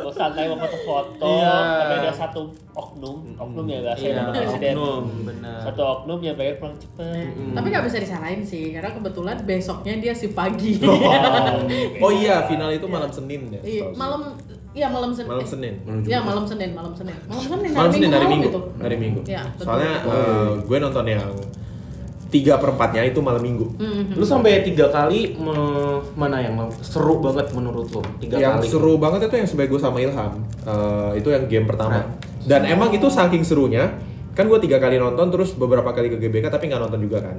B: Terus santai mau foto-foto
C: Iya.
B: tapi ada satu oknum oknum ya
C: Iya,
B: bahasanya Bapak presiden
C: oknum, benar.
B: satu oknum yang pengen pulang cepet
D: Tapi nggak bisa disalahin sih, karena kebetulan besoknya dia si pagi.
A: Oh iya, final itu malam Senin ya.
D: Iya,
A: setahu saya.
D: malam iya malam Senin.
A: malam Senin.
D: Iya, malam Senin, malam Senin. Malam Senin,
A: Malam Senin hari Minggu.
D: gitu.
A: Hari Minggu.
D: Iya, betul.
A: Soalnya eh, gue nonton yang 3 per 4-nya itu malam Minggu.
D: Mm-mm.
C: Lu sampai tiga kali me- mana yang seru banget menurut lu? Tiga
A: yang
C: kali.
A: seru banget itu yang sebagai gue sama Ilham Eh, itu yang game pertama dan emang itu saking serunya kan gue tiga kali nonton terus beberapa kali ke GBK tapi nggak nonton juga kan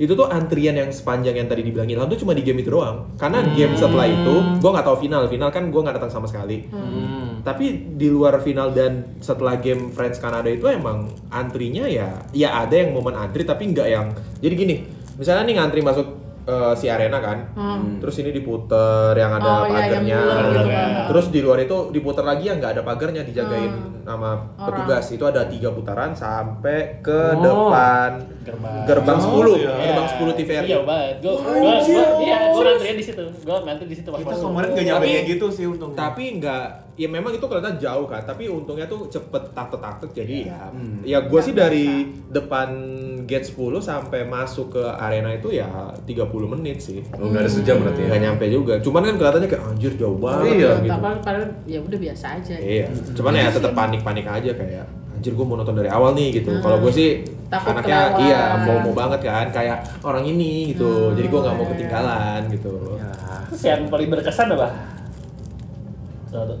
A: itu tuh antrian yang sepanjang yang tadi dibilang Ilham tuh cuma di game itu doang karena game setelah itu gue nggak tahu final final kan gue nggak datang sama sekali
C: Hmm.
A: tapi di luar final dan setelah game Friends Kanada itu emang antrinya ya ya ada yang momen antri tapi nggak yang jadi gini misalnya nih ngantri masuk eh, si arena kan.
D: Hmm.
A: Terus ini diputer yang ada
D: Oh, iya,
A: pagarnya.
D: yang kan. bulat
B: gitu.
A: gitu.
B: Pagarnya.
A: Terus di luar itu diputer lagi yang nggak ada pagarnya dijagain sama
D: Hmm. Orang.
A: petugas. Itu ada tiga putaran sampai ke
C: Oh.
A: depan
B: Gerbang.
A: gerbang
C: Oh,
A: 10,
C: iya.
A: gerbang 10 TVRI.
B: Iya banget. Gue
C: Wah,
B: gue
C: anjir.
B: iya gue nantinya di situ. Gue nanti di situ pas
C: Kita
B: masuk.
C: kemarin gak nyampe
A: Tapi-
C: kayak gitu sih untung.
A: tapi nggak ya memang itu kelihatan jauh kan tapi untungnya tuh cepet takut takut jadi ya
C: Hmm.
A: ya gue
D: Iya. Nggak
A: sih dari depan gate 10 sampai masuk ke arena itu ya 30 menit sih
E: Oh, nggak ada sejam berarti ya?
A: nggak nyampe juga cuman kan kelihatannya kayak anjir jauh banget
E: Iya,
A: ya, gitu
D: Padahal- padahal ya udah biasa aja.
A: iya cuman ya tetap panik panik aja kayak anjir gue mau nonton dari awal nih gitu
D: Hmm.
A: kalau gue sih
D: Takut
A: anaknya
D: kelewat.
A: iya mau mau banget kan kayak orang ini gitu
D: Hmm.
A: jadi gue nggak mau ketinggalan gitu
C: Ya.
B: Terus yang paling berkesan apa? Satu.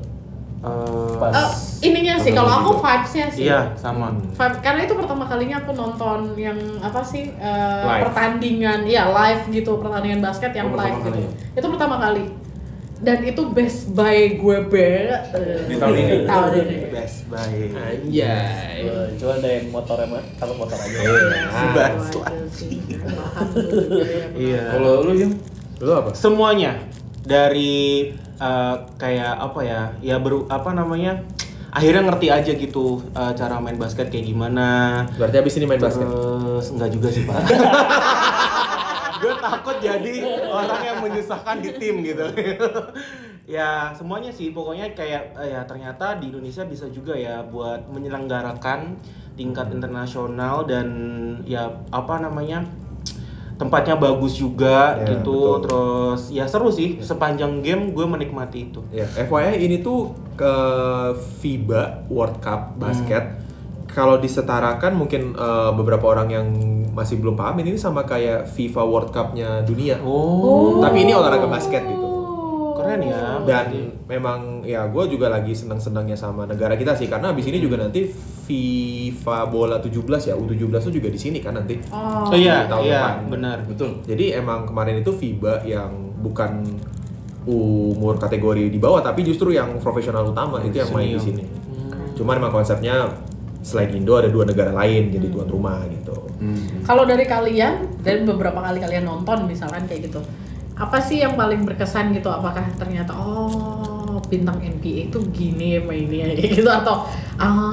C: Eh,
B: Pas.
D: Eh, ininya sih kalau aku vibesnya sih.
C: iya sama.
D: Vibe- karena itu pertama kalinya aku nonton yang apa sih eh,
A: Live.
D: pertandingan ya live gitu pertandingan basket yang
C: Oh,
D: live
C: pertama
D: gitu
C: kali
D: itu pertama kali dan itu best by gue banget eh,
E: Di tahun ini?
D: tahun ini
C: Best buy.
A: anjay
B: Eh, Cuma ada yang motor emang, kalau motor aja.
A: Eh.
C: Sebat.
D: Itu aja sih. Alhamdulillah.
C: Iya.
E: Kalau lu ya?
A: lu apa
C: semuanya dari eh, kayak apa ya ya baru apa namanya akhirnya ngerti aja gitu eh, cara main basket kayak gimana
A: berarti abis ini main basket
C: terus enggak juga sih pak gue takut jadi orang yang menyusahkan di tim gitu ya semuanya sih pokoknya kayak eh, ya ternyata di Indonesia bisa juga ya buat menyelenggarakan tingkat internasional dan ya apa namanya tempatnya bagus juga
A: Ya,
C: gitu
A: betul.
C: terus ya seru sih sepanjang game gue menikmati itu
A: Ya, FYI ini tuh ke FIBA World Cup basket. Kalau disetarakan mungkin eh, beberapa orang yang masih belum paham ini sama kayak FIFA World Cup-nya dunia.
C: oh,
A: Tapi ini olahraga basket gitu.
C: keren ya berarti.
A: Dan memang ya gue juga lagi senang-senangnya sama negara kita sih karena abis ini juga nanti FIFA bola 17 ya U17 tuh juga di sini kan nanti.
D: oh,
C: oh iya
A: tahun
C: iya
A: depan.
C: benar
E: Betul.
A: Jadi emang kemarin itu FIBA yang bukan umur kategori di bawah tapi justru yang profesional utama itu yang
C: Iya.
A: main di sini.
C: Hmm.
A: Cuman emang konsepnya selain Indo ada dua negara lain jadi tuan rumah gitu.
D: kalau dari kalian dan beberapa kali kalian nonton misalkan kayak gitu apa sih yang paling berkesan gitu apakah ternyata oh bintang NBA itu gini mainnya kayak gitu atau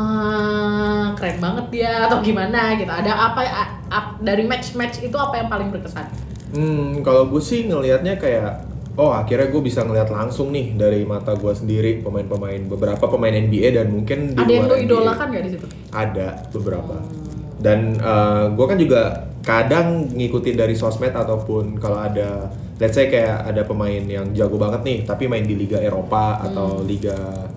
D: ah keren banget dia atau gimana gitu ada apa a- a- dari match-match itu apa yang paling berkesan
A: Hmm, kalau gue sih ngelihatnya kayak oh akhirnya gue bisa ngelihat langsung nih dari mata gue sendiri pemain-pemain beberapa pemain NBA dan mungkin di
D: ada yang
A: luar
D: lo
A: NBA.
D: idolakan gak di situ
A: ada beberapa dan gue kan juga kadang ngikutin dari sosmed ataupun kalau ada let's say kayak ada pemain yang jago banget nih tapi main di liga Eropa atau liga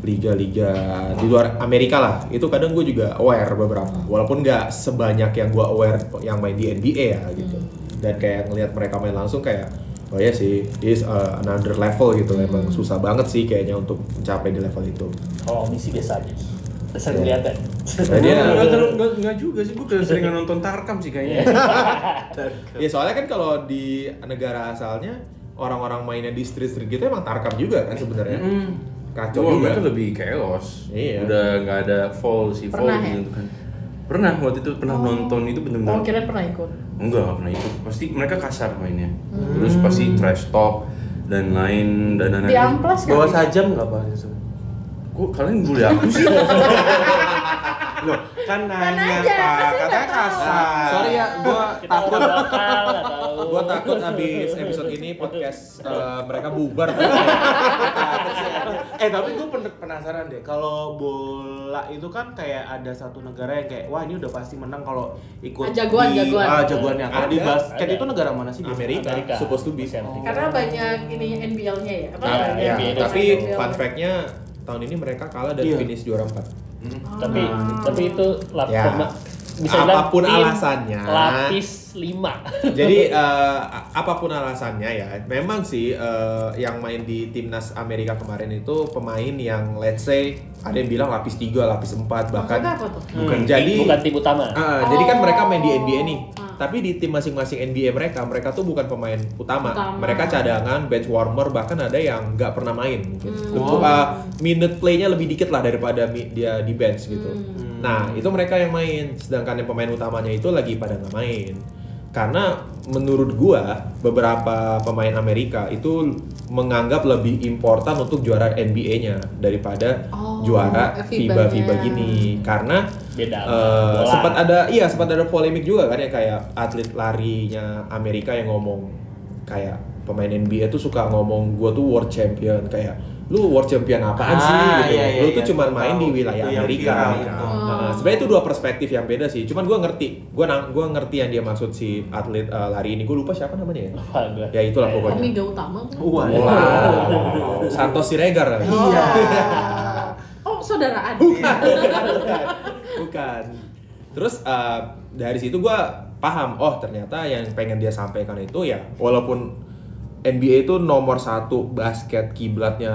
A: liga-liga di luar Amerika lah itu kadang gue juga aware beberapa walaupun nggak sebanyak yang gue aware yang main di NBA ya gitu dan kayak ngelihat mereka main langsung kayak oh ya sih is uh, another level gitu emang susah banget sih kayaknya untuk mencapai di level itu
B: Kalau misi biasa aja.
A: Iya.
B: Bisa dilihat ya.
A: Nah, dia-
E: Nggak- nggak- nggak- nggak juga sih, gue keseringan nonton Tarkam sih
D: Iya.
E: kayaknya.
A: Ya soalnya kan kalau di negara asalnya orang-orang mainnya di street-street gitu emang tarkam juga kan sebenarnya. Kacau
E: Cuma
A: juga.
E: mereka lebih chaos.
A: Iya.
E: Udah nggak ada fall si fall
D: Pernah ya?
E: gitu kan. Pernah waktu itu pernah nonton itu bener-bener.
A: Nah.
D: oh kira pernah ikut
E: Enggak, nggak pernah ikut. Pasti mereka kasar mainnya. Terus pasti trash talk dan lain dan
A: Nah,
E: lain.
D: Hmm. di amplas
C: bawa
D: gak?
C: sajam nggak pak Yusuf?
E: Kok kalian bully aku sih?
C: loh kan nanya
D: aja,
C: pak
D: pasti nggak
C: katanya
D: tahu.
C: kasar
A: Sorry ya, gua
B: Kita
A: takut
B: udah lokal, nggak tahu.
A: gua takut abis episode ini podcast eh, mereka bubar.
C: eh tapi gue penasaran deh kalau bola itu kan kayak ada satu negara yang kayak wah ini udah pasti menang kalau
D: Ah,
C: ikut
D: jagoan,
C: di,
D: jagoan.
C: ah, jagoannya kalau di
A: Ada,
C: basket
B: ada.
C: itu negara mana sih biasanya?
A: Amerika,
B: Amerika.
A: supposed to be.
B: Masih Amerika.
D: karena banyak ini NBL-nya ya apa
A: Nah,
D: namanya?
A: ya.
B: NBA dan
A: Tapi
D: NBL.
A: fun fact-nya tahun ini mereka kalah dari
C: Iya.
A: finish juara 4.
B: Tapi
D: Ah.
B: tapi itu lap-
A: Ya.
B: pema- bisa dibilang
A: Apapun
B: tim
A: alasannya.
B: Lapis 5.
A: Jadi eh, apapun alasannya ya, memang sih eh, yang main di timnas Amerika kemarin itu pemain yang let's say ada yang bilang lapis 3, lapis 4 bahkan
D: Maksudnya apa tuh?
A: bukan jadi
B: bukan tim utama.
A: Ah, Jadi kan
D: Oh.
A: mereka main di NBA nih.
D: Ah.
A: Tapi di tim masing-masing NBA mereka, mereka tuh bukan pemain utama.
D: Utama.
A: Mereka cadangan, bench warmer, bahkan ada yang nggak pernah main. Gitu.
D: Hmm.
A: Untuk ah, minute play-nya lebih dikit lah daripada mi- dia di bench gitu.
D: Hmm.
A: Nah itu mereka yang main, sedangkan yang pemain utamanya itu lagi pada nggak main. karena menurut gua beberapa pemain Amerika itu menganggap lebih important untuk juara NBA-nya daripada
D: Oh,
A: juara
D: FIBA-nya.
A: FIBA FIBA gini karena
B: Beda sama
A: eh,
B: bola.
A: sempat ada iya sempat ada polemik juga kan ya kayak atlet larinya Amerika yang ngomong kayak pemain NBA tuh suka ngomong gua tuh world champion kayak lu world champion apaan
C: Ah,
A: sih gitu
C: iya, iya,
A: lu tuh
C: iya.
A: cuma main di
C: Tahu.
A: wilayah
C: Itu yang
A: Amerika
C: Iya, viral
A: Nah,
C: itu.
D: Oh.
A: nah, sebenarnya itu dua perspektif yang beda sih cuman gua ngerti gua nang- gua ngerti yang dia maksud si atlet eh, lari ini gua lupa siapa namanya ya
B: Lupa gua.
A: ya itulah pokoknya Uh,
D: Omega utama. kan?
C: Waduh.
A: Wow. Santos Siregar kan?
C: Iya.
D: Oh, saudaraan.
A: bukan terus eh, dari situ gua paham oh ternyata yang pengen dia sampaikan itu ya walaupun NBA itu nomor satu basket kiblatnya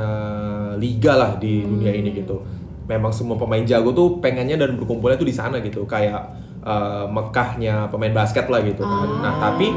A: liga lah di dunia ini gitu memang semua pemain jago tuh pengennya dan berkumpulnya tuh di sana gitu kayak eh, Mekahnya pemain basket lah gitu kan nah tapi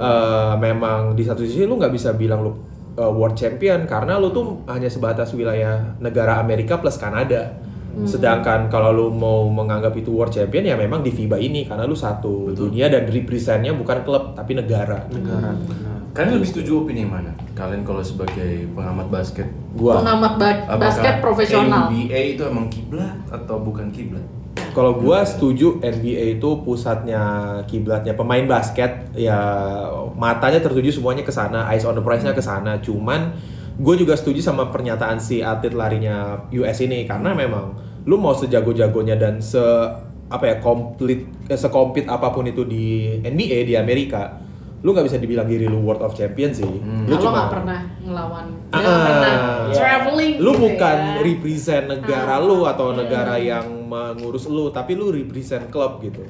A: eh, memang di satu sisi lu nggak bisa bilang lu eh, world champion karena lu tuh hanya sebatas wilayah negara Amerika plus Kanada Sedangkan kalau lu mau menganggap itu world champion ya memang di FIBA ini karena lu satu dunia dan representnya bukan klub tapi negara.
C: Negara. benar.
E: Kalian lebih setuju opini yang mana? Kalian kalau sebagai pengamat basket
A: Gua
D: Pengamat ba-
E: apakah
D: basket profesional.
E: NBA itu emang kiblat atau bukan kiblat?
A: kalau gua setuju NBA itu pusatnya kiblatnya pemain basket ya matanya tertuju semuanya ke sana, eyes on the prize-nya ke sana. Cuman gue juga setuju sama pernyataan si atlet larinya US ini karena memang lu mau sejago-jagonya dan se apa ya komplit eh, sekomplit apapun itu di NBA di Amerika lu nggak bisa dibilang diri lu world of champion sih lu
D: Hmm. Kalau
A: cuma-
D: nggak pernah ngelawan,
A: Ah.
D: nggak pernah
A: Iya.
D: traveling.
A: lu
D: gitu
A: bukan
D: ya. Ah.
A: represent negara lu atau negara yang mengurus lu tapi lu represent klub gitu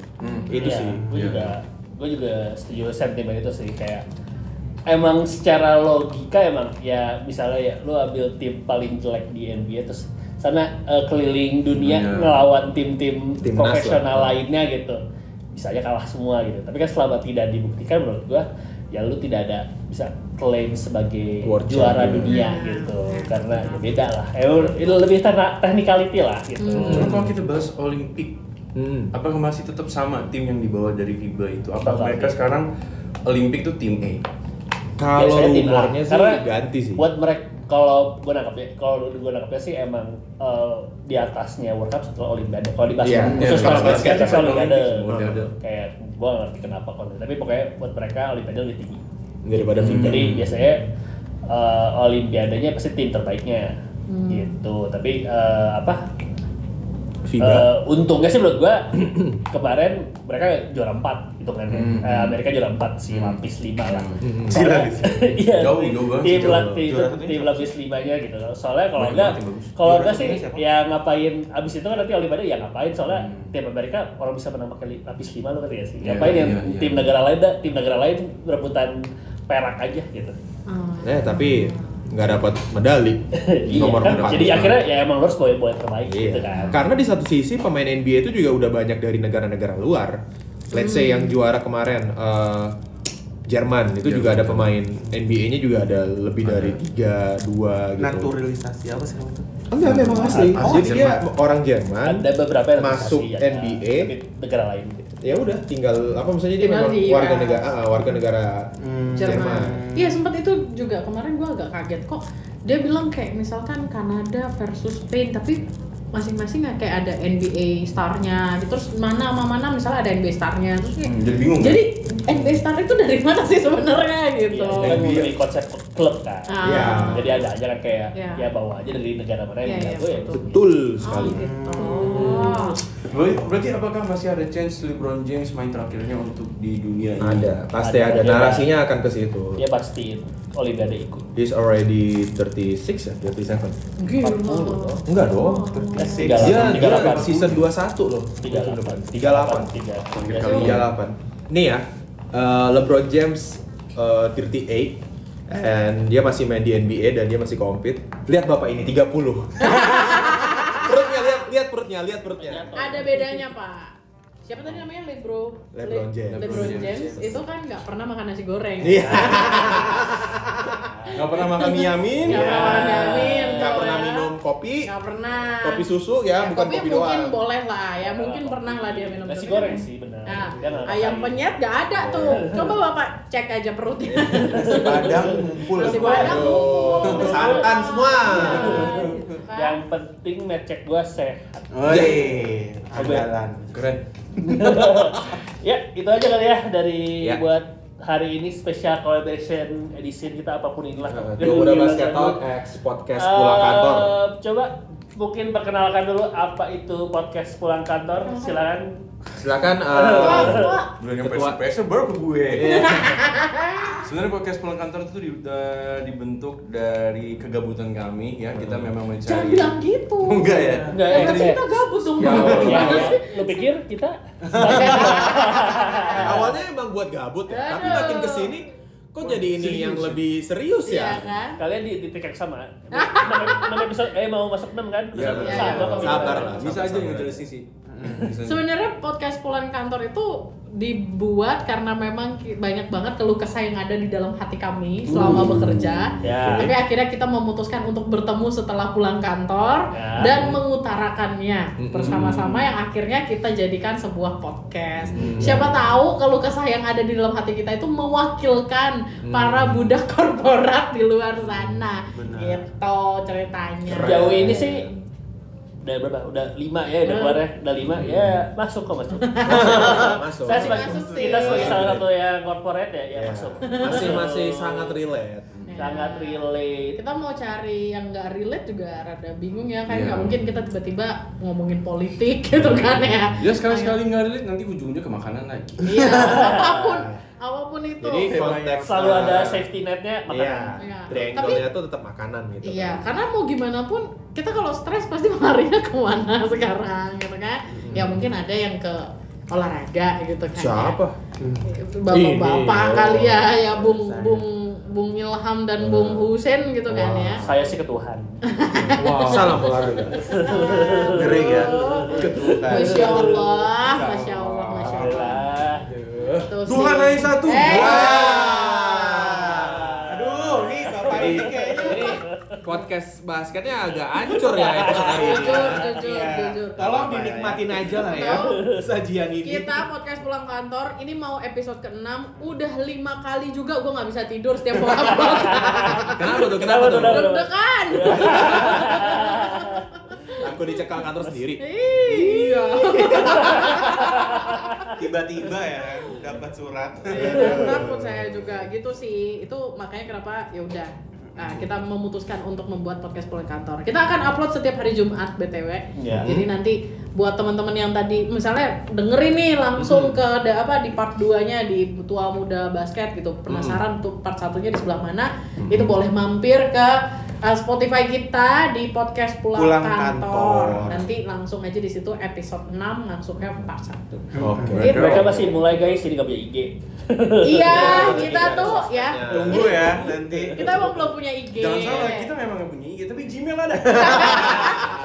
A: itu
B: Iya,
A: sih
B: Gue
E: Iya.
B: juga, gue juga setuju sentimen itu sih kayak emang secara logika emang ya misalnya ya lu ambil tim paling jelek di NBA terus sana eh, keliling dunia
E: Iya.
B: ngelawan tim-tim
A: Timnas
B: profesional lainnya gitu bisa aja kalah semua gitu tapi kan selama tidak dibuktikan menurut gua ya lu tidak ada bisa klaim sebagai
A: World
B: juara
A: champion.
B: dunia gitu karena ya beda lah Eh, itu lebih tekna- technicality lah gitu
D: Hmm.
E: Cuma kalau kita bahas Olimpik,
A: Hmm.
E: apakah masih tetap sama tim yang dibawa dari FIBA itu?
B: Tetap.
E: Apa mereka sekarang Olimpik tuh tim A?
A: kalau
B: Biasanya tim A.
A: rumornya sih
B: Karena
A: ganti sih
B: Buat mereka kalau gue nangkepnya, kalau gue nangkepnya sih emang eh, di atasnya World Cup setelah Olimpiade. Kalau di basket,
A: Iya,
B: khusus
E: iya,
B: kalau basket
E: basket, basket,
B: setelah Olimpiade.
E: Olimpik, Olimpiade.
B: Kayak gue gak ngerti kenapa kalau tapi pokoknya buat mereka Olimpiade lebih tinggi.
A: daripada FIBA
B: Jadi biasanya eh, Olimpiadenya pasti tim terbaiknya gitu. Tapi eh, apa?
A: FIBA
B: Eh, untungnya sih menurut gua kemarin mereka juara 4 hitungannya.
E: Hmm.
B: Eh, Amerika juara 4 si lapis 5 lah. Soalnya-
E: Hmm. Si lapis.
B: Iya.
E: Jauh,
B: tim-
E: jauh banget sih,
B: Tim,
E: jauh.
B: lap- tim,
C: Juara satunya
B: tim lapis 5-nya gitu. loh. Soalnya kalau
E: Banyak
B: enggak
E: banget yang bagus.
B: kalau
C: Juara
B: enggak sih
C: satunya siapa?
B: ya ngapain abis itu kan nanti Olimpiade ya ngapain soalnya tim Amerika orang bisa menang pakai li- lapis 5 lo ngerti ya sih.
E: Hmm. Iya,
B: Ngapain yang
E: iya, iya.
B: tim negara lain dah- tim negara lain rebutan perak aja gitu.
D: Ah.
A: eh tapi nggak dapat medali
B: Iya,
A: nomor
B: kan?
A: empat
B: Jadi akhirnya ya emang lo harus boleh boleh terbaik
A: Iya.
B: gitu kan.
A: Karena di satu sisi pemain NBA itu juga udah banyak dari negara-negara luar. Let's say
D: Hmm.
A: yang juara kemarin eh, Jerman itu juga ada pemain NBA-nya juga ada lebih dari tiga dua gitu.
C: Naturalisasi apa sih namanya?
A: Enggak, enggak, emang asli.
E: Oh,
A: Jadi dia
E: Jerman.
A: orang Jerman.
E: Kan
B: Ada beberapa yang
A: masuk
B: naturalisasi, ada-
A: NBA.
B: tapi negara lain gitu.
A: Ya udah, tinggal apa maksudnya dia
D: Tinggal
A: memang
D: di-
A: warga
D: ya.
A: negara ah, warga negara Jerman.
D: Hmm. Jerman. Iya sempat itu juga kemarin gue agak kaget kok dia bilang kayak misalkan Kanada versus Spain tapi masing-masing nggak kayak ada NBA starnya gitu. terus mana sama mana misalnya ada NBA starnya terus kayak,
E: Hmm, jadi bingung,
D: jadi NBA star itu dari mana sih sebenarnya gitu
B: Iya, kan dari konsep klub kan.
D: Ah.
A: Iya.
B: Jadi ada aja kan kayak
D: Iya.
B: ya bawa aja dari negara mana yang
D: Iya,
B: jago
D: iya,
B: ya.
D: betul.
A: Betul
D: Oh,
A: sekali.
D: gitu.
E: kan? Ber- Berarti apakah masih ada chance LeBron James main terakhirnya untuk di dunia ini?
A: Ada, pasti
B: Ada. Iya.
A: ada. Narasinya akan ke situ.
B: Dia pasti Olimpiade ikut.
A: He's already 36 ya, 37.
D: Gila.
B: 40 loh.
A: Enggak dong.
B: Eh,
A: Dia, dia,
B: 38.
A: season 21 loh. musim
B: 38.
A: depan. 38.
B: 38.
D: Iya.
B: 38.
E: Tiga
A: iya.
E: kali.
A: 38. Nih ya, eh, LeBron James eh, 38 and dia masih main di NBA dan dia masih compete. Lihat Bapak ini 30. perutnya lihat, lihat perutnya, lihat perutnya.
D: ada bedanya pak siapa tadi namanya Lebro
A: LeBron James.
D: Lebron
E: LeBron
D: James itu kan nggak pernah makan nasi goreng
A: Iya.
E: nggak pernah makan mie amin
D: Nggak pernah makan mie amin,
A: nggak
D: tuh
A: pernah
D: ya.
A: minum kopi
D: Nggak pernah.
A: kopi susu ya, bukan
D: kopi
A: kopi,
D: mungkin
A: doang
D: boleh lah ya, mungkin
B: Nggak
D: pernah lah dia minum.
B: Nasi
D: kopi.
B: goreng sih benar.
D: Nah,
B: Dia nggak
D: ayam
B: rasain.
D: penyet gak ada
A: Iya.
D: tuh. Coba bapak cek aja perutnya.
C: Nasi Padang ngumpul.
D: Nasi padang.
A: Aduh,
D: oh,
A: santan semua.
D: Iya, gitu kan.
B: Yang penting ngecek gua sehat.
A: Iya.
C: Woi, andalan.
E: keren
B: ya, itu aja kali ya dari
A: Ya.
B: buat hari ini special collaboration edition kita apapun inilah.
A: Nah,
B: Gua
A: Gua udah
B: bilang
A: basket
B: dulu.
A: out, X podcast
B: Eh,
A: pulang kantor.
B: Coba mungkin perkenalkan dulu apa itu podcast pulang kantor. Silakan.
A: Silakan eh,
D: Wah, wah.
E: belum yang
A: Ketua.
E: PS baru ke gue sebenarnya podcast pulang kantor itu di- da- dibentuk dari kegabutan kami ya kita memang mencari
D: Jangan bilang gitu.
E: enggak ya
B: Enggak,
D: Ya,
B: eh,
D: berarti
B: tadi-
D: kita gabut dong. Iya,
A: Ya,
D: kan?
B: ya,
A: Allah.
B: ya. Lu pikir kita?
A: awalnya emang buat gabut ya, tapi
D: Aduh.
A: makin kesini kok jadi ini
E: serius
A: yang
E: ya?
A: lebih serius
D: Iya
A: ya.
D: kan?
B: Kalian di, di titik sama. 6 episode, eh mau masuk 6 kan?
E: Iya,
B: Episode
E: iya,
D: iya.
B: satu apa
A: Sabar
B: gimana?
A: lah.
E: bisa aja
A: Sabar-sabar.
E: ngejelasin sih
B: Hmm.
E: Bisa aja.
D: Sebenarnya podcast pulang kantor itu dibuat karena memang ki- banyak banget keluh kesah yang ada di dalam hati kami selama
B: Hmm.
D: bekerja.
B: Ya.
D: Tapi akhirnya kita memutuskan untuk bertemu setelah pulang kantor
B: Ya. Hmm.
D: dan mengutarakannya bersama-sama yang akhirnya kita jadikan sebuah podcast.
B: Hmm.
D: Siapa tahu keluh kesah yang ada di dalam hati kita itu mewakilkan
B: Hmm.
D: para budak korporat di luar sana.
C: Benar.
D: Gitu ceritanya.
B: Jauh ini sih udah berapa? Udah 5 ya, udah
D: Hmm.
B: keluar ya. Udah 5 ya, masuk kok masuk.
A: Masuk.
B: Saya sebagai
D: Masuk sih.
B: kita sebagai salah satu yang corporate ya, ya masuk.
A: Iya. Masih masih sangat relate.
B: sangat relate.
D: kita mau cari yang nggak relate juga rada bingung ya kayak
E: Iya.
D: nggak mungkin kita tiba-tiba ngomongin politik gitu kan ya
A: Iya,
E: ya sekali sekali nggak relate nanti ujungnya ke makanan lagi
D: iya apapun apapun itu
A: Jadi konteks eh,
B: Selalu ada safety netnya
A: Iya.
B: makanan.
D: Iya.
A: Triangle-nya tuh tetap makanan gitu.
D: iya karena mau gimana pun kita kalau stres pasti larinya kemana sekarang gitu kan
A: Hmm.
D: ya mungkin ada yang ke olahraga gitu kan ya.
A: Siapa?
D: bapak-bapak
A: Ini,
D: kali ya
A: oh.
D: ya bung bung bung Ilham dan bung Husen gitu kan ya
B: Saya sih ke Tuhan.
D: Oh.
A: Wow. Salam olahraga.
C: Ngeri ya. Ketukan.
D: Masya Allah, Masya Allah, Masya Allah.
B: Alhamdulillah.
D: Tuh sih.
E: Tuhan hanya satu.
D: Eh.
A: Wah.
C: Aduh, ini kapan ini kayaknya.
A: Ini podcast basketnya agak hancur ya episode hari
E: Iya.
A: ini.
D: Jujur, jujur, jujur.
C: Iya. Tolong ya. dinikmatin aja lah ya sajian ini.
D: Kita podcast pulang kantor, ini mau episode ke-6 Udah lima kali juga gue gak bisa tidur setiap mau upload
A: Kenapa tuh? Kenapa
B: Kenapa tuh?
A: tuh?
D: Deg-degan
A: Aku dicekal kantor sendiri.
D: Iya
C: tiba-tiba ya kan, dapat surat.
D: Takut saya juga gitu sih Itu makanya kenapa ya udah Nah, kita memutuskan untuk membuat podcast pulang kantor. Kita akan upload setiap hari Jumat BTW.
B: Ya.
D: Jadi nanti buat teman-teman yang tadi misalnya dengerin nih langsung ke da- apa di part 2-nya di Tua Muda Basket gitu. Penasaran tuh part satunya di sebelah mana? Itu boleh mampir ke uh, Spotify kita di podcast Pulang,
C: Pulang
D: kantor.
C: Kantor.
D: Nanti langsung aja di situ episode 6 masuknya part 1.
A: Oke.
D: Gitu.
B: Mereka masih mulai guys, jadi nggak punya IG.
D: iya, kita tuh ya.
A: Iya.
C: Tunggu ya nanti.
D: Kita emang belum punya IG.
E: Jangan salah, kita memang nggak punya IG, tapi Gmail ada.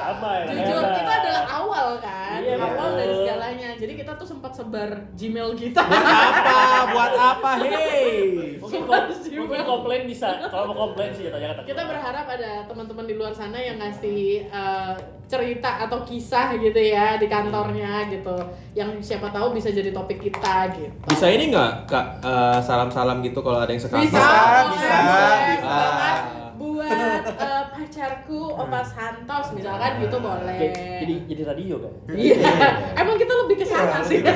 B: Sama ya.
D: Jujur,
B: ternyata.
D: kita adalah awal kan,
B: Iya,
D: awal
B: betul.
D: dari segalanya. Jadi kita tuh sempat sebar Gmail kita.
A: Apa? Buat apa? Hei.
B: Mungkin, kom- mungkin komplain bisa. Kalau mau komplain sih ya tanya kata.
D: kita berharap ada teman-teman di luar sana yang ngasih eh, cerita atau kisah gitu ya di kantornya gitu, yang siapa tahu bisa jadi topik kita gitu.
A: Bisa ini nggak kak eh, salam-salam gitu kalau ada yang sekarang? Ah.
D: bisa,
C: Bisa,
D: bisa,
C: bisa.
D: Misalkan buat eh, pacarku Opa Santos misalkan gitu boleh.
B: Jadi, Ah. jadi jadi radio kan.
D: Iya, emang kita lebih ke
A: Iya,
D: sana sih.
A: ya.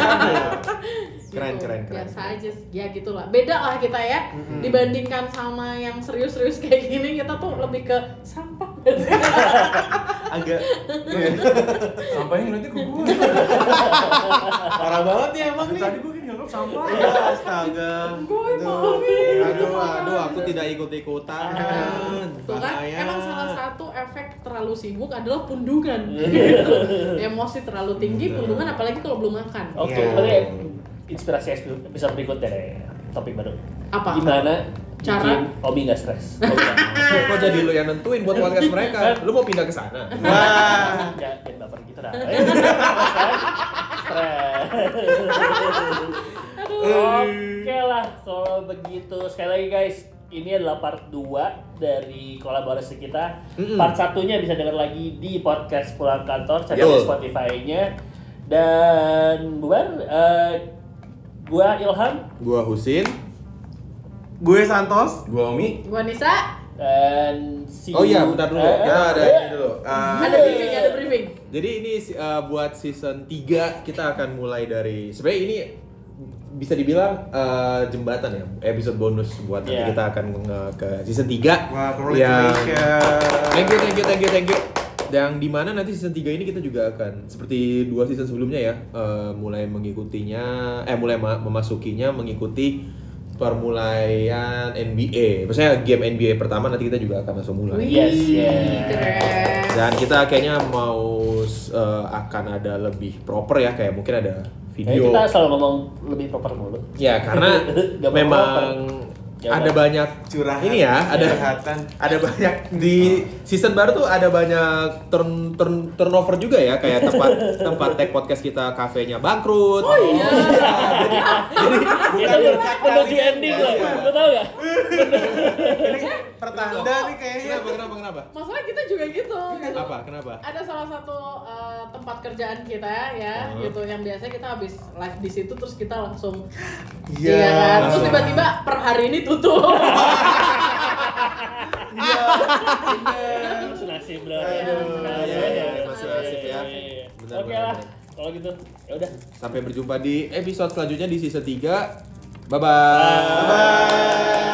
A: Keren,
D: Gitu,
A: keren, keren.
D: Biasa aja, sih. ya gitulah. Beda lah kita ya, dibandingkan sama yang serius-serius kayak gini, kita tuh lebih ke sampah.
C: Agak
E: Sampainya nanti ke gue.
C: parah banget ya emang
E: Dari
C: nih.
E: Tadi gue kan dianggap sampah.
C: Iya, Astaga.
D: Gue mau
C: Aduh.
D: nih.
A: Aduh, aduh, aku tidak ikut-ikutan.
D: Tuh kan,
A: Bahaya.
D: emang salah satu efek terlalu sibuk adalah pundungan. Gitu.
A: Iya.
D: Emosi terlalu tinggi, pundungan apalagi kalau belum makan.
A: Oh,
B: Oke,
C: Iya.
B: berarti inspirasi episode berikutnya deh. Topik baru.
D: Apa?
B: Gimana
D: Cara?
B: bikin Obi nggak stres? Obi nggak-
A: Kok jadi lu yang nentuin buat podcast mereka? Lu mau pindah ke sana?
C: Wah.
B: Jangan jangan baper gitu dah. Eh, stres. Stres. Oke lah, kalau begitu sekali lagi guys Ini adalah part 2 dari kolaborasi kita. Part satunya bisa dengar lagi di podcast Pulang Kantor, cari di
A: Betul.
B: Spotify-nya. Dan bubar, eh, gua Ilham,
A: Gua Husin.
C: Gue Santos.
E: Gua Omi.
D: Gua Nisa,
B: dan see
A: Oh iya,
B: you-
A: bentar dulu.
B: eh,
A: Kita ada
B: eh,
A: ini dulu. Ah,
D: ada briefing, ada briefing.
A: Jadi ini uh, buat season 3 kita akan mulai dari sebenarnya ini bisa dibilang uh, jembatan ya episode bonus buat nanti
B: Iya.
A: kita akan nge- ke season 3
C: Wah,
A: yang
C: congratulations.
A: Thank you, thank you, thank you, thank you. Dan di mana nanti season 3 ini kita juga akan seperti dua season sebelumnya ya, eh, mulai mengikutinya, eh mulai ma- memasukinya mengikuti permulaian NBA. Maksudnya game NBA pertama nanti kita juga akan langsung mulai.
B: Yes,
D: Wih,
B: yes.
D: keren.
A: Dan kita kayaknya mau eh, akan ada lebih proper ya, kayak mungkin ada
B: eh,
A: video.
B: kita selalu ngomong lebih proper mulu.
A: Ya karena
B: Gak mau
A: memang
B: Jangan.
A: ada banyak
C: Curahan.
A: Ini ya, ada
C: Curhatan.
A: ada banyak di season baru tuh ada banyak turn, turn- turnover juga ya kayak tempat tempat tag podcast kita kafenya bangkrut. Oh iya. jadi, jadi
B: Itu menuju
A: iya,
C: kalian,
B: iya. ending
C: ya.
B: loh, lo tau gak?
C: Ini pertanda nih kayaknya.
A: kenapa kenapa kenapa?
D: Masalah kita juga gitu. gitu.
A: Apa kenapa?
D: Ada salah satu eh, tempat kerjaan kita ya,
A: Hmm.
D: gitu yang biasanya kita habis live di situ terus kita langsung kan?
C: Iya.
D: Terus
A: langsung.
D: tiba-tiba per hari ini tutup.
B: Langsung nasib bro. iya,
D: Aduh,
A: iya, iya, masih nasib ya. Benar, benar,
B: Oke
A: benar.
B: lah, kalau gitu ya udah.
A: Sampai berjumpa di episode selanjutnya di season 3. Bye-bye.
B: Bye.